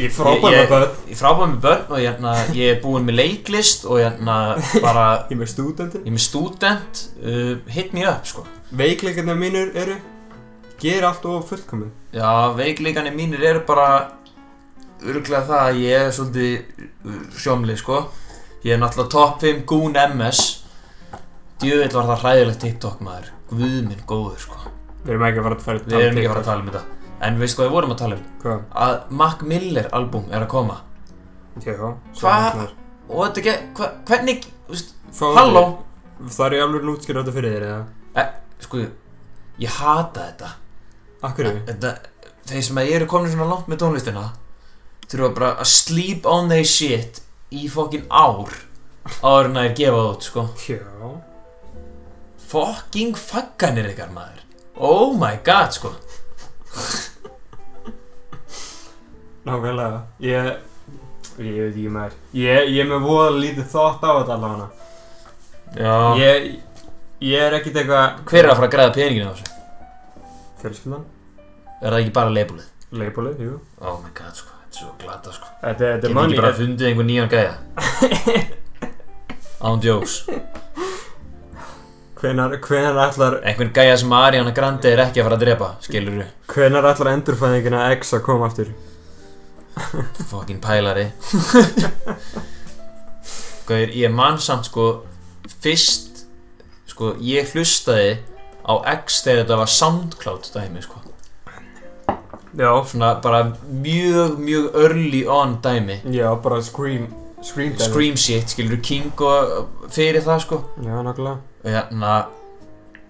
Ég frábæði Ég- með börn ég frábæði með börn og hérna, ég er búinn með leiklist og hérna bara, Ég er með stúdentin ég er með stúdent, uh, hit me up sko. Veikleikarnir mínir eru Ger allt of fullkomin Já, veikleikanir mínir eru bara örglega það að ég er svolítið sjómli sko. Ég er náttúrulega top 5 gún MS. Djövill var það hræðilegt TikTok maður, guð minn góður sko. Við erum ekki að fara að fara að Við erum ekki að fara að tala um þetta. En veistu hvað við vorum að tala um? Hvað? Að Mac Miller album er að koma. Já, Hva- Og þetta ekki, hva, hvernig, þú veist, halló? Það er ég alveg nútskýr á þetta fyrir þér eða sko, ég hata þetta Akkur er þetta, þeir sem að eru komin svona langt með tónlistina þurfa bara að sleep on their shit í fokkin ár áður en að þeir gefa það út, sko Já fokking fagganir ykkar maður oh my god, sko Nákvæmlega Ég Ég veit ekki maður Ég, ég er með voða lítið þátt á þetta allavega já Ég Ég er ekkit eitthvað hver er að fara að græða peningin á þessu? Fjölskyldan er það ekki bara leibulið? Leipolið, jú oh my god, sko, þetta er svo glata, sko Þetta, þetta er Get eh? ekki manni bara fundið einhver nýjan gæja án djóks Hvenar, hvenar ætlar einhvern gæja sem Ariana Grande er ekki að fara að drepa skilur Hvenar ætlar endurfæðingina X að koma aftur? Fokkin pælari Gauðir, ég man samt sko Fyrst Sko, ég hlustaði á X þegar þetta var SoundCloud dæmi sko Já Svona bara mjög, mjög early on dæmi Já, bara Scream Scream dæmi. Scream shit, skilur King og fyrir það sko Já, nákvæmlega Og hérna,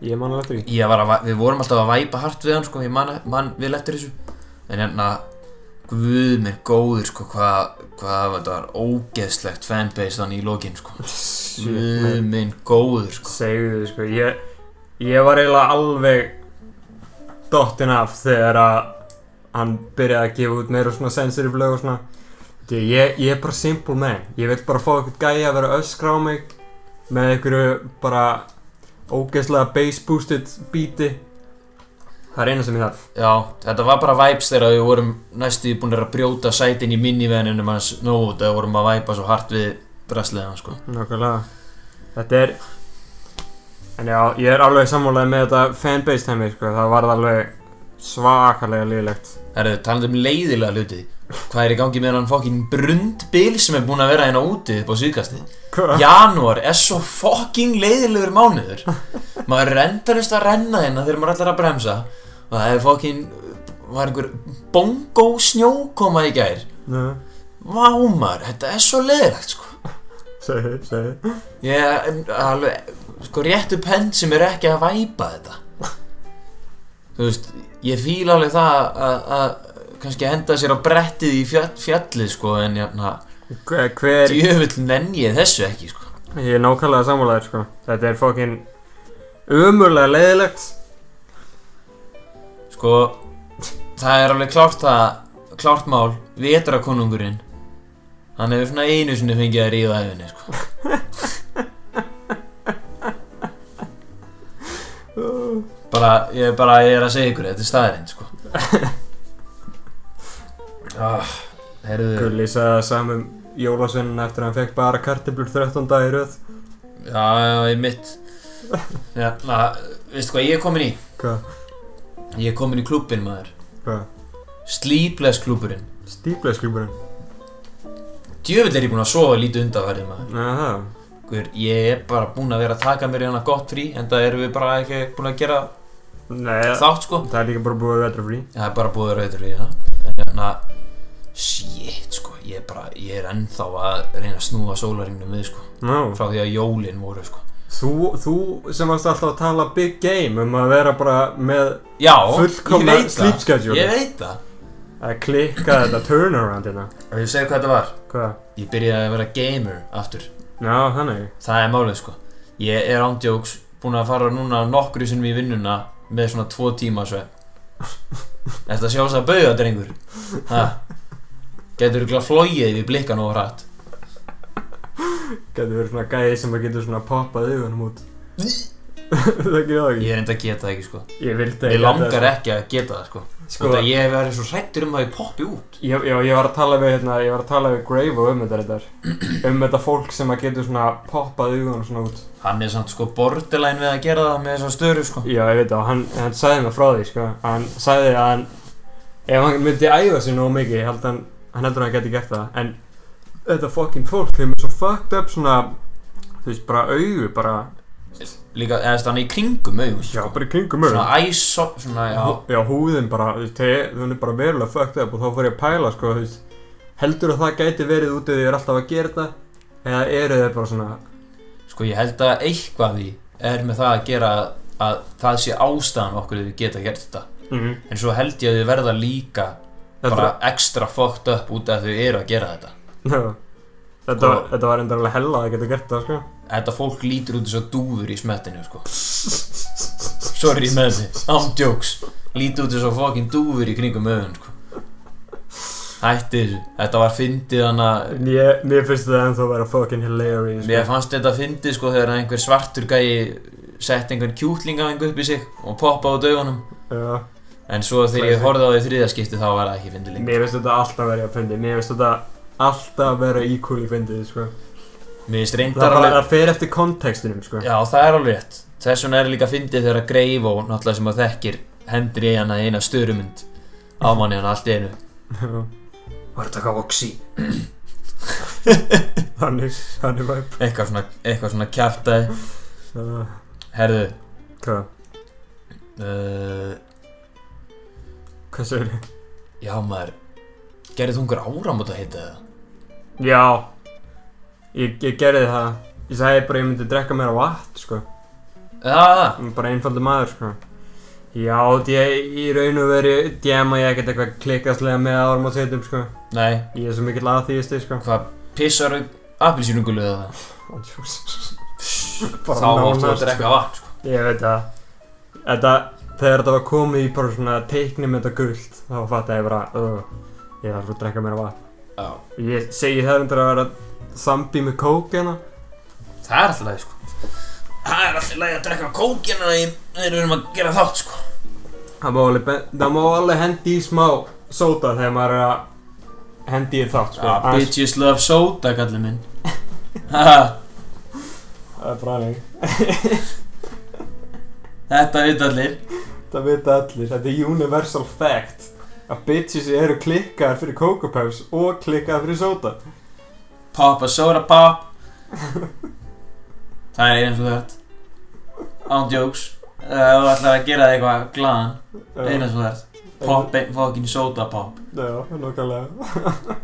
Ég man alveg eftir því ég var að, væ- við vorum alltaf að væpa hart við hann sko Ég man, man vil eftir þessu En hérna, guð mér góður sko Hvað, hvað þetta var ógeðslegt fanbase þannig í lokin sko Shit, Guð man. minn góður sko Segðu þið sko Ég Ég var eiginlega alveg Dottin af þegar að Hann byrjaði að gefa út meira svona sensitive lög og svona Því að ég, ég er bara simple man Ég vil bara fá eitthvað gæja að vera að öskra á mig Með einhverju bara Ógeðslega bass boosted beati Það er eina sem ég þarf Já, þetta var bara vibes þegar við vorum næstu búin að brjóta sætin í minivenninum hans nót eða vorum að væpa svo hart við brasliðan sko Nákvæmlega Þetta er En já, ég er alveg sammálaði með þetta fanbase heimi, sko Það varð alveg svakalega liðlegt Herðu, talandi um leiðilega hluti Hvað er í gangi með hann fokkin brundbil sem er búin að vera hérna úti upp á síðkasti Hvað? Janúar er svo fokkin leiðilegur mánuður Maður er endalist að renna hérna þegar maður ætlar að bremsa Og það er fokkin, var einhver bongo snjókoma í gær Nú, Vá maður, þetta er svo leiðilegt sko segi, segi Ég er alveg, sko réttu penn sem er ekki að væpa þetta Þú veist, ég fíla alveg það að, að kannski henda sér á brettið í fjall, fjallið sko en jafna, Hver, hver djöfull nenn ég þessu ekki sko Ég er nákvæmlega sammálaði, sko Þetta er fokkin Umurlega leiðilegt Sko, það er alveg klárt það, klárt mál, vetrakonungurinn Hann hefur svona einu sinni fengið að ríða æfinni sko Bara, ég, bara, ég er að segja ykkur, þetta er staðarinn sko ah, Herðu, Gulli sagði það samum Jólasvinnin eftir að hann fekk bara kartiblur 13 dag í röð já, já, ég mitt Hérna, veistu hvað ég er komin í? Hvað? Ég er komin í klúbbinn maður Hvað? Sleepless klúbburinn Stíplega skrifurinn Djöfull er ég búinn að sofa lítið undanverðið maður Já, það Guður, ég er bara búinn að vera að taka mér hérna gott frí en það erum við bara ekki búinn að gera Nei, þátt sko það er líka bara búið að vetra frí Það er bara búið að rauður í það En hérna, shit sko, ég er bara, ég er ennþá að reyna að snúa sólaringnum við sko Ná Frá því að jólin voru sko Þú, þú sem varst alltaf að tala big game um að vera bara með Já, Fullkomna ég veit það, sleep schedule. ég veit það að klikka þetta turnaround hérna Og ég segi hvað þetta var Hvað? Ég byrjaði að vera gamer aftur Já, þannig Það er málið sko Ég er ándjóks búin að fara núna nokkru sinnum í vinnuna Með svona tvo tíma svef Þetta sjá þess að bauða drengur ha. Getur ykkur að flóið við blikkan og hratt Getur verið svona gæði sem að getur svona poppað augunum út Það gerði það ekki Ég er enda að geta það ekki sko Ég vildi Ég ekki langar ekki að geta það sko Sko, Sko að ég hef verið svo hrættur um að ég poppi út Já, já, ég var að tala við hérna, ég var að tala við Grave og um þetta reyndar Um þetta fólk sem að getur svona poppað augunum svona út Hann er samt sko borderline við að gera það með þessa störu sko Já, ég veit það, og hann, hann sagði mig frá því, sko Hann sagði að hann, ef hann myndi æfa sig nógu mikið, ég held hann, hann heldur að hann geti gert það En þetta fucking fólk, þeim er svo fucked up svona, þú veist, bara augu, bara Líka, eða stanna í kringum augun Já, sko. bara í kringum augun Svona æsó, svona já Hú- Já, húðin bara, þú veist, þe- hún er bara verulega fucked up og þá fór ég að pæla, sko, þú veist, heldur að það gæti verið út ef ég er alltaf að gera þetta eða eru þeir bara svona, Sko ég held að eitthvað því er með það að gera að það sé ástæðan okkur við geta gert þetta mhm, en svo held ég að þau verða líka þetta bara ekstra fucked up út af því þau eru að gera þetta Já. Þetta, Sko- var, þetta var reyndar alveg hella að geta gert það sko Þetta fólk lítur út eins og dúfur í smettinu sko Sorry með þessi, ándjóks Lítur út eins og fucking dúfur í kringum augun sko Hætti þessu, þetta var fyndið hana En ég, mér finnst þetta ennþá að vera fucking hilarious sko. Eh. Mér fannst þetta fyndið sko þegar einhver svartur gæi sett einhvern kjúklinga upp í sig og poppaði út augunum Já. En svo þegar ég horfði á því þriðaskipti þá var það ekki fyndið lengur. Mér finnst þetta alltaf verið að fyndi Mér finnst þetta alltaf vera equal í fyndið sko. Mér finnst Það er reyndar bara alveg... að fer eftir kontekstinum sko. Já, það er alveg rétt. Þess vegna er líka fyndið þegar að greif og náttúrulega sem að þekkir hendur í hana eina störumund á manni hana allt í einu. Var þetta hvað voksi? Þannig, þannig væp Eitthvað svona, eitthvað svona kjaftaði. uh, Herðu, Hvað? uh, Hvað segir þið? já maður, gerði þú einhver áramót að heita það? Já ég, ég gerði það Ég sagði bara að ég myndi drekka meira vatn sko. Já, það. Ég er bara einfaldur maður sko Já, ég, í raun og veru djema ég ekkert eitthvað klikkastlega með árum á þeitum sko Nei, Ég er svo mikill aðþýðisti sko hvað, pissar appilsýnungulu eða það? Bara Þá máttu nánast, að drekka vatn, sko. Ég veit það Þetta, þegar þetta var komið í bara svona teiknum þetta gult Þá fattaði ég bara, öh, ég þarf að drekka mér vatn Já. Ég segi það undir að vera sambí með kók hérna Það er alltaf leið sko Það er alltaf leið að drekka kókina í þegar við erum að gera þátt sko Það má alveg, ben- það má alveg hendi í smá sóta þegar maður er að hendi í þátt sko ah, Aðeins- Bitches love soda kallið minn Ha, Það er bræðing Þetta veit allir Þetta vita allir, þetta er universal fact að bitches eru klikkaðar fyrir Coco Puffs og klikkaðar fyrir soda Pop a soda pop Það er eins og þetta Án jokes Ef þú ætlar að gera þig eitthvað glaðan Eina svo þetta Pop ein fucking soda pop Um, Já, nokkulega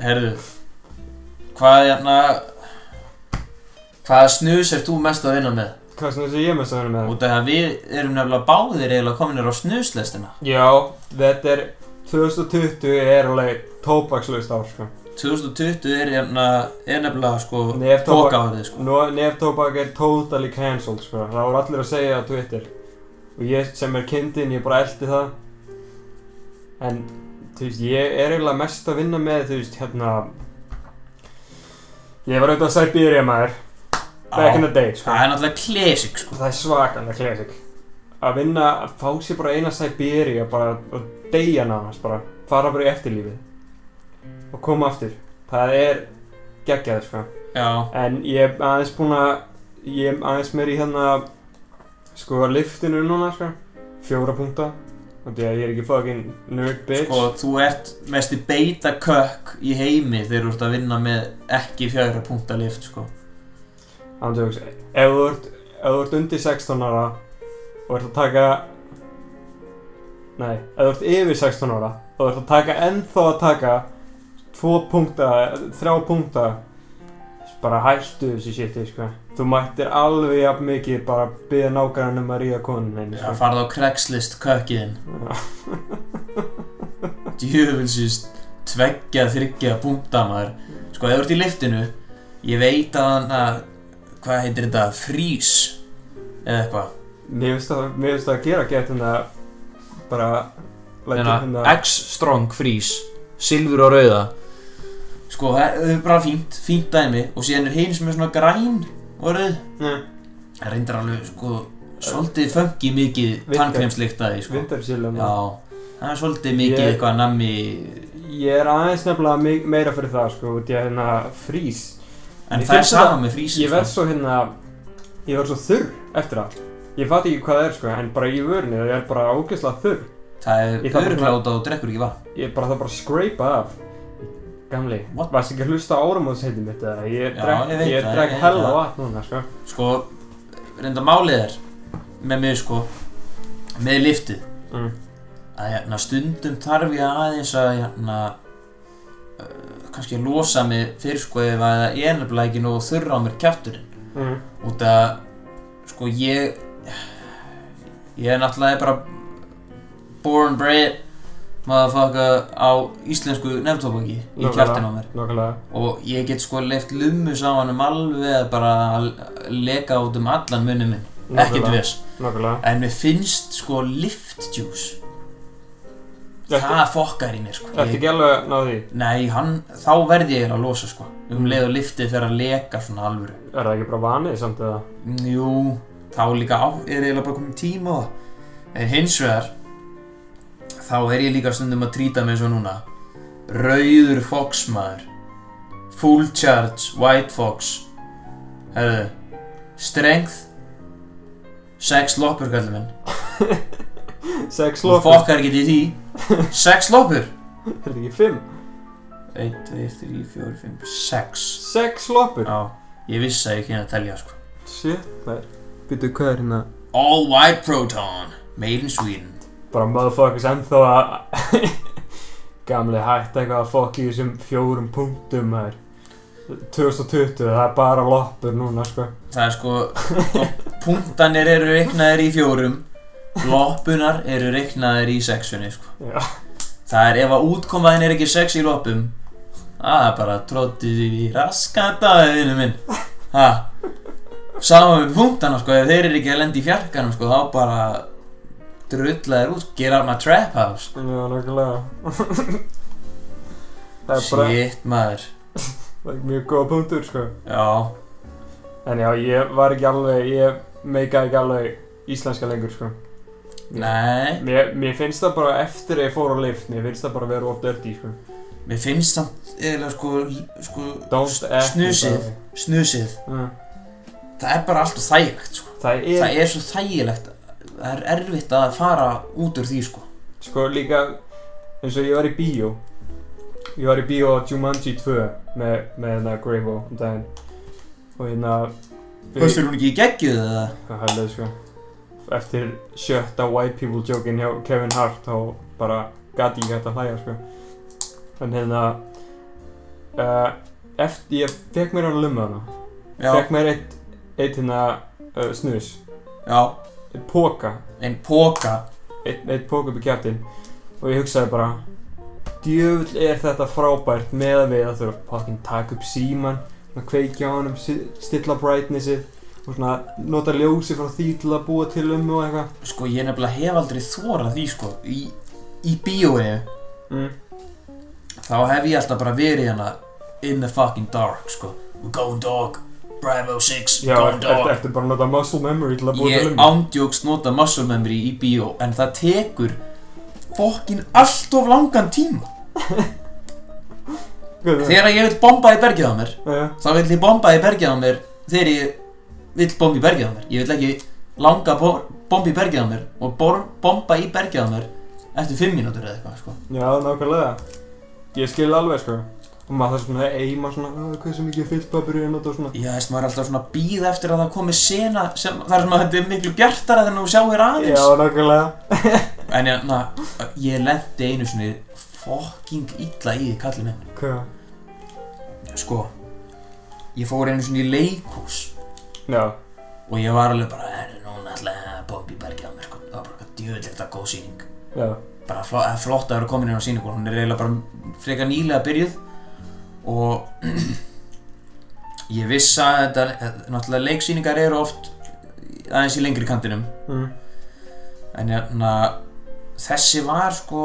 Herðu Hvað er hérna Hvaða snus er þú mest að vinna með? Hvað sem þessi ég mest að vera með Út af að við erum nefnilega báðir eiginlega kominir á snuslestina Já, þetta er 2020 er alveg tóbakslaust ár sko 2020 er, hérna, er nefnilega sko Nef tóbak, tókaverðið sko Nú- nef tóbak er totally cancelled sko Það voru allir að segja á Twitter og ég sem er kindinn, ég bara eldi það en þú veist, ég er eiginlega mest að vinna með þú veist, hérna ég var auðvitað að Siberia maður back in Já, the day sko. Það er náttúrulega classic sko það er svakalega classic að vinna, að fá sér bara eina Siberia bara og deyja nánast bara fara bara í eftirlífið og koma aftur það er geggjað sko Já, en ég er aðeins búinn að ég er aðeins meir í hérna sko liftinu núna sko fjóra punkta þannig að ég er ekki fucking nerd bitch sko þú ert mest í beita kökk í heimi þegar þú ert að vinna með ekki fjögra punkta lift sko Andjóks, ef þú ert, ef þú ert undir 16 ára og ert að taka Nei, ef þú ert yfir 16 ára og ert að taka ennþá að taka 2 punkta, 3 punkta bara hættu þessu shiti, sko Þú mættir alveg jafn mikið bara byggja nákvæmlega um að ríða konun henni, að fara á Craigslist kökkiðinn sko Já. djöfulsins tveggja, þryggja punkta maður sko, ef þú ert í liftinu ég veit að hann að hvað heitir þetta, frís eða eitthvað, Mér finnst það, mér finnst það að gera gett hérna bara lætur Þannig að hérna X strong freeze Silfur og rauða sko, það er- það er bara fínt fínt dæmi og síðan er hinn sem er svona græn orðið, Nei, það reyndir alveg sko, svolítið fengi mikið Virkar. tannkreimslikt að því sko, vindarsýlum já það er svolítið mikið Ég- eitthvað nammi Ég er aðeins nefnilega mi- meira fyrir það sko út í að hérna frís en Ég það finnst er sama það- með sko. frísi Ég verð svo hérna Ég verð svo þurr eftir það Ég fatt ekki hvað það er sko en bara í vörni það er bara ógeðslega þurr það er Ég þarf að- öruglega út á og drekkur ekki vatn Ég bara það bara skreipa af Gamli, What? varst ekki að hlusta á áramóðsheitum mitt eða Ég Já, dreg, ég veit ég það, dreg ég veit hella það. vatn núna sko sko, reynda málið er með mig sko með liftið Mm. að hérna, stundum þarf ég aðeins að hérna, uh, kannski losa mig fyrir sko ef að það er nefnilega ekki nógu þurra á mér kjátturinn mm. út að sko ég ég er náttúrulega bara born bred motherfucker á íslensku nefntobaki í mm, Nákvæmlega. kjáttin á mér Nákvæmlega og ég get sko leift lummu saman um alveg að bara að leka út um allan munum minn ekkert nákvæmlega, viss Nákvæmlega en mér finnst sko lift juice Ertu- það fokkar í mér sko Ertu ég, ekki alveg að ná því? nei, hann, þá verð ég eiginlega að losa sko um leið og liftið fer að leka svona alvöru Er það ekki bara vanið samt eða? Mm, jú, þá líka á, er eiginlega bara komin tíma á það en hins vegar þá er ég líka stundum að trýta mig svo núna rauður foxmaður full charge, white fox herðu strength sex loppur kallum minn Sex Þú lókur, fokkar ekki í því Sex lópur er þetta ekki fimm? 1, 2, 3, 4, 5, 6 Sex lókur? Já, ég vissi að ég kynna að telja sko Shit, það er Býtu, hvað er hérna? All white proton Made in Sweden Bara motherfuckers ennþá að Gamli hætt eitthvað að fokk í þessum fjórum punktum maður 2020, það er bara loppur núna sko Það er sko, sko Punktanir eru reiknaðir í fjórum Loppunar eru reiknaðir í sexunni sko Já, Það er ef að útkomaðin er ekki sex í loppum Það er bara tróttið í raskataðinu minn Ha Sama með punktana sko Ef þeir eru ekki að lenda í fjarkanum sko Þá bara Drullar út Get out my trap house já, nákvæmlega Það er bara Shit maður það er mjög góða punktur sko Já En já, ég var ekki alveg, ég meika ekki alveg íslenska lengur sko Nei Mér, mér finnst það bara eftir að ég fór á lift, mér finnst það bara að vera of dirty, sko. Mér finnst samt Eða sko Sko Don't act Snusið það. Snusið Mm. Það er bara alltaf þægilegt sko Það er, Það er svo þægilegt Það er erfitt að fara út úr því sko sko líka, eins og ég var í bíó. Ég var í bíó á Jumanji 2 með, með hérna Gravo um daginn. Og hérna... við- Höstur hún ekki í geggjuð eða? Hvað heldur, sko. Eftir sjötta white people jokin hjá Kevin Hart þá bara gati ég hægt að hlæja, sko. En hérna... Uh, eftir, ég fekk mér að lumma hana. Já fekk mér eitt, eitt hérna uh, snus, Já eitt póka, Einn póka eitt, eitt póka upp í kjartinn og ég hugsaði bara djöfull er þetta frábært með að við að þurfa fucking taka upp síman svona kveikja á honum, si- stilla brightnessið og svona nota ljósi frá því til að búa til um og eitthvað Sko ég nefnilega hef aldrei þórað því sko Í, í bíóinu mm. Þá hef ég alltaf bara verið hérna In the fucking dark sko We're going dog Bravo 6 Já, Going eftir, dog eftir bara að nota muscle memory til að búa til Ég um ándjóks nota muscle memory í bíó En það tekur Fokkin allt of langan tíma Guð, Þegar ég vil bomba í bergið á mér já, Þá vil ég bomba í bergið á mér Þegar ég vil bomba í bergið á mér Ég vil ekki langa bor- bomba í bergið á mér Og bor, bomba í bergið á mér Eftir 5 mínútur eða eitthvað sko já, nákvæmlega Ég skil alveg sko og maður þarf svona að eima svona "Ó, hversu mikið fyllpapir er að nota og svona Já, þess maður er alltaf svona að býða eftir að það komi sena sem, þar sem að þetta er miklu bjartara þegar þú sjáir Já, aðeins nákvæmlega En ég, na, ég lendi einu sinni fucking illa í því kallið minn Hvað? Sko, ég fór einu sinni í leikhús Já, og ég var alveg bara, herru, núna ætla ég að bomba í bergið á mér sko Það var bara eitthvað djöðlegt að góð sýning já, bara fló, eða flott að vera komin inn á síningu hún er eiginlega bara frekar nýlega byrjuð og ég viss að þetta að- náttúrulega leiksýningar eru oft aðeins í lengri kantinum mm. en hérna þessi var sko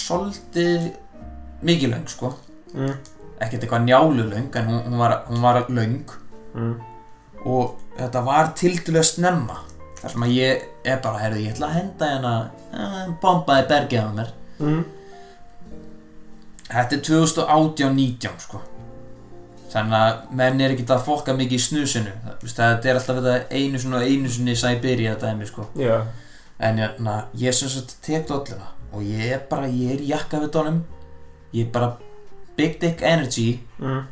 svolítið mikið löng sko Mm. ekkert eitthvað njálu löng en hún, hún, var, hún var löng Mm. og þetta var tildulega snemma þar sem að ég er bara, herðu, ég ætla að henda hérna eh, bombaði bergið af mér Mm. þetta er 2018-19 sko þannig að menn er ekkert að fokka mikið í snusinu Það- þú veist, þetta er alltaf þetta einu svona einu sinni Siberia dæmi sko Já, En hérna, ég sem sagt tek dolluna og ég er bara, ég er í jakka við donum Ég er bara Big Dick Energy mm.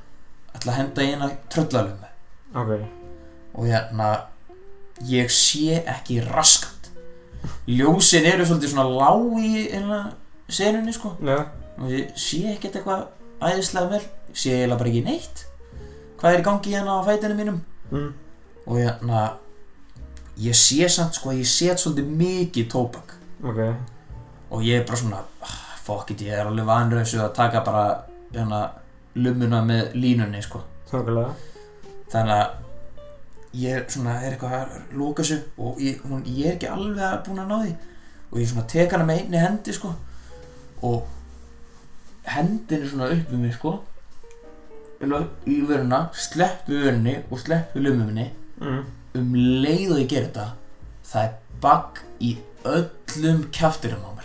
ætla að henda í hérna tröllalömu ok Og hérna, ég sé ekki raskat Ljósin eru svolítið svona lág í hérna senunni sko Já, Og ég sé ekkert eitthvað æðislega vel Ég sé eiginlega bara ekki neitt Hvað er í gangi hérna á fætinu mínum mm. Og hérna, ég sé samt sko, ég set svolítið mikið tóbak ok og ég er bara svona ah, fuck it, ég er alveg vanur þessu að taka bara hérna, lumuna með línunni sko. Svakalega þannig að ég er svona, er eitthvað að lóka þessu og ég, hún, ég er ekki alveg að búin að ná því og ég svona tek hana með einni hendi sko, og hendin er svona upp við mig sko Vel á- í vöruna, slepp við vörunni og slepp við lumunni mm. um leið og ég ger þetta það er bagg í öllum kjafturum á mér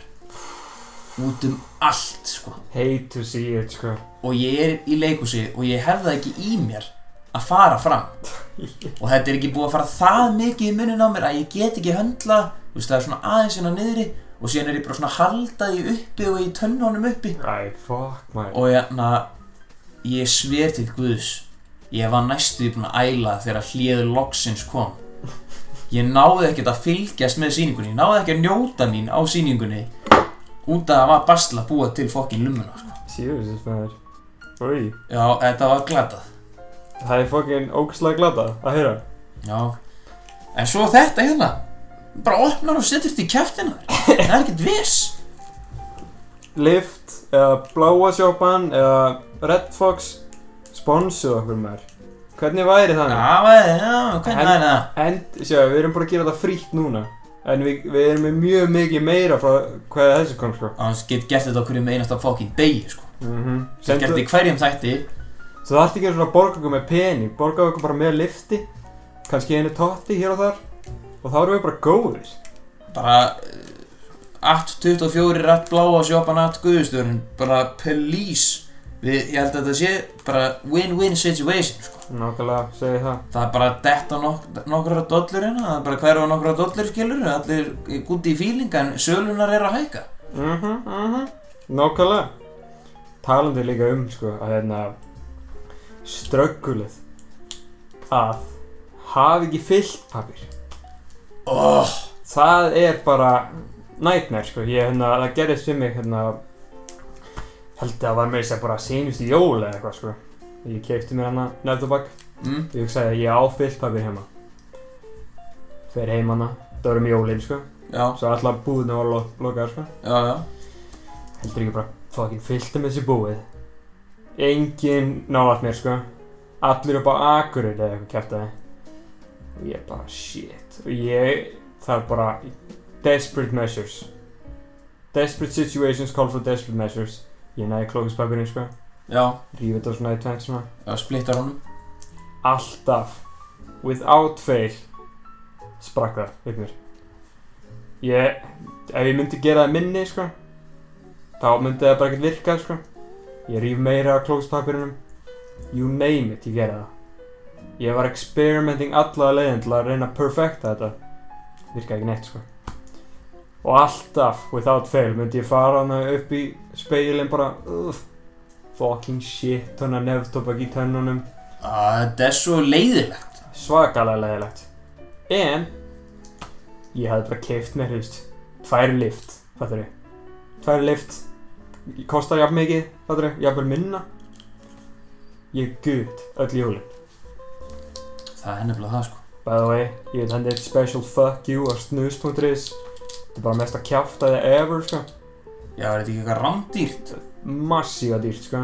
út um allt sko Hate to see it, sko og ég er í leikhúsi og ég hef það ekki í mér að fara fram og þetta er ekki búið að fara það mikið í munnin á mér að ég get ekki höndla þú veist það er svona aðeins hérna niðri og síðan er ég bara svona að halda því uppi og í tönnunum uppi Æ, fuck, man og hérna ég sver til Guðs ég var næstu búinn að æla þegar hlýður loksins kom ég náði ekkert að fylgjast með sýningunni ég náði ekki að njóta mín á sýningunni út af að það var basla búa til fokkin lumuna sko. Jesus, maður Új, já, þetta var glatað það er fucking ógslag glata að heyra já. en svo þetta hérna bara opnar og setur þetta í kæftina það er ekkert viss Lift, eða Bláa sjópan, eða Red Fox Sponsuð okkur maður Hvernig væri já, þannig? já, já, hvernig En- er það End, sjá, við erum bara að gera þetta frítt núna En við, við erum með mjög mikið meira frá hvað þessu kom, sko annars get gert þetta okkur um einasta fokkin degi sko. mm sem gert í hverjum þætti Svo það ætti ekki að svona borga okkur með pening, borga okkur bara með lifti, kannski einu totti hér og þar og þá erum við bara góðir. bara eh, at 24, at bláa sjópan, at guðustjórn bara please við, ég held að þetta sé bara win-win situation sko. Nákvæmlega, segi það. það er bara að detta nok nokkra dollur hérna, það er bara hverfa nokkra dollur skilur allir gúti í fíling en sölunar er að hækka Mhm, mhm, nákvæmlega. Talandi líka um, sko, að hérna, ströggulið að hafa ekki fyllt pappir. oh, það er bara nightmare sko, ég hérna, það gerðist fyrir mig hérna, held að það var með þess að bara sínustu jól eða eitthvað sko ég kefti mér hana nefndabak mm, ég hugsaði að ég á fyllt pappir heima fer heim hana, það var um jólin sko já, svo allar búðinu var lo lokað sko já, já heldur ekki bara, fucking fyllti með þessi búið engin nálat mér sko allir upp á akurinn eða eitthvað kæftið og ég bara shit og ég þarf bara desperate measures desperate situations call for desperate measures ég næði klókispapirinn sko já, rífið þetta svona í tvent svona já, splittar honum alltaf without fail sprakk það upp mér ég ef ég myndi gera það minni sko þá myndi það bara ekkert virka sko ég ríf meira af klókspapirinum you name it, ég gera það ég var experimenting alla leiðin til að reyna að perfecta þetta virka ekki neitt sko og alltaf without fail myndi ég fara hana upp í speilin bara uff, fucking shit hana nefntobak í tönnunum að þetta er svo leiðilegt svakalega leðilegt en ég hafði bara keift mér, þú veist tvær lift, fattur ég tvær lift, kostar jafn mikið fattur ég, jafnvel minna ég gutt öll jólin það er nefnilega það sko by the way, ég vil hendi eitt special fuck you á snus.is Þetta er bara mest að kjafta það ever, sko. Já, er þetta ekki eitthvað rándýrt? Massífa dýrt, sko.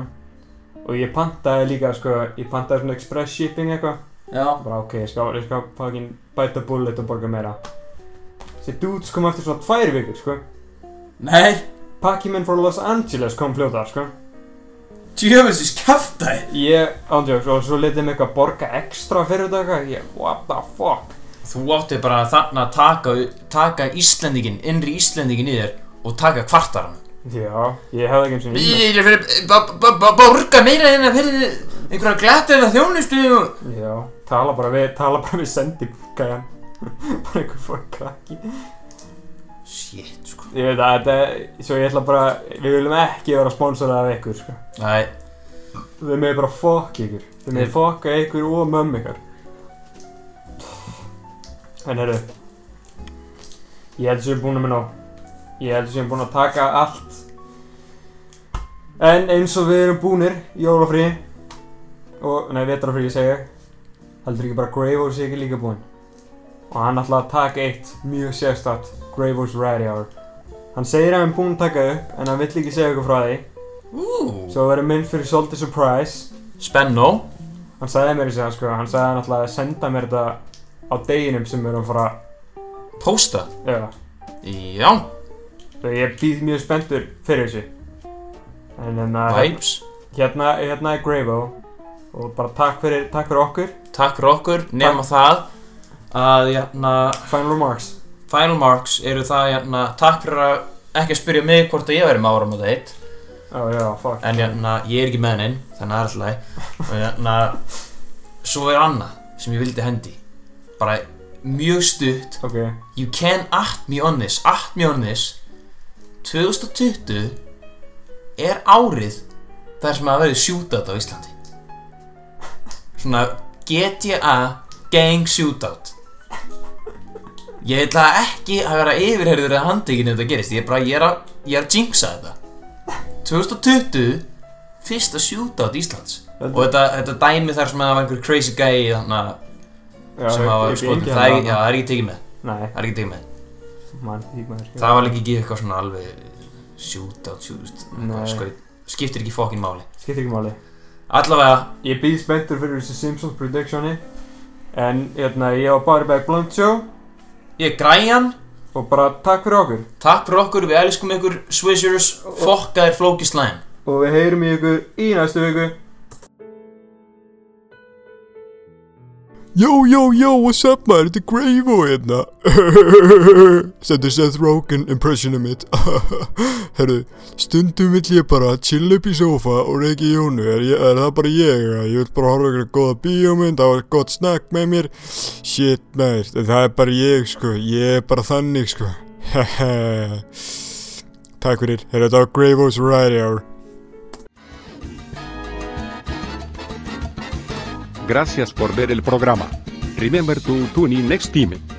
Og ég pantaði líka, sko, ég pantaði svona express shipping eitthvað. Já, Bara, ok, ég skal, ég skal fucking bæta bullet og borga meira. Þessi dudes kom eftir svona tvær vikur, sko. nei, Pakki minn frá Los Angeles kom fljótar, sko. djöfelsins kjaftaði Ég, ándjóks, og svo letið mig eitthvað borga ekstra fyrir þetta eitthvað. Ég, what the fuck? Þú átti bara þarna að taka, taka Íslendingin, innri Íslendingin í þér og taka kvartaran Já, ég hefði ekki eins og nýmið. Ég er fyrir b- b- b- borga meira en að fyrir einhverja glætið að þjónustu og... Já, tala bara við, tala bara við sendingæjan. bara einhver fór krakki. Shit, sko Ég veit að þetta, svo ég ætla bara, við viljum ekki vera sponsorað af ykkur, sko. Nei, Þau meði bara fokk ykkur. Þau meði Mm. fokka ykkur og mömmu ykkur. En herru, ég held að séum búin að minna á. Ég held að séum búin að taka allt. En eins og við erum búnir, í jólafrí, og, nei, vetrafrí, ég segja, heldur ekki bara Gravos sé ekki líka búinn. Og hann ætlaði að taka eitt mjög sérstætt, Gravos Ride Hour. Hann segir að hann er búinn að taka upp, en hann vill ekki segja okkur frá því. ú, Svo verður minn fyrir svolítið surprise. spennó Hann sagði mér þess að sko, hann sagði hann alltaf að senda mér þetta á deginum sem við erum að fara, Pósta já, Já, svo ég býð mjög spenntur fyrir þessu. En hérna, vibes hérna, hérna er Gravo og bara takk fyrir, takk fyrir okkur, Takk fyrir okkur, nema það að hérna, jæna, final remarks. final marks eru það jæna, takk fyrir að ekki að spyrja mig hvort að ég verið með áramóta eitt Ó já, fuck. en jæna, ég er ekki með hennin, þannig að það er alltaf og jæna, svo er annað sem ég vildi hendi bara mjög stutt Ok, you can at me on this, at me on this 2020 er árið þar sem að verið shootout á Íslandi svona GTA gang shootout ég ætla ekki að vera yfirherður eða handtekinn ef þetta gerist ég er bara, ég er að, ég er að jinxa þetta 2020 fyrsta shootout Íslands og þetta, þetta dæmi þar sem að það var einhver crazy guy þarna já, sem að var skotin það, er- já, það er ekki tekið með hérna. Nei, það er ekki tekið með mann, því maður. það var líka ekki eitthvað svona alveg shootout, shootout, Nei. eitthvað skaut skiptir ekki fokkin máli Skiptir ekki máli. allavega Ég býð spenntur fyrir þessu Simpsons predictioni. En hérna, ég var bara bæði Blunt Show Ég er Græjan, og bara takk fyrir okkur. takk fyrir okkur, við elskum ykkur, Swishers, fokkaðir flóki slæm. og við heyrum í ykkur í næstu viku Yo, yo, yo, what's up maður, þetta er Gravo hérna Þetta er Seth Rogen impressionið mitt Herru, stundum vill ég bara chill upp í sofa og reiki í jónu er, ég, er það bara ég, eða? ég vil bara horfa ykkur góða bíómynd, hafa gott snakk með mér Shit maður, en það er bara ég sko, ég er bara þannig sko Takk fyrir, herru, þetta var Gravo's Ride Hour Gracias por ver el programa. Remember to tune in next time.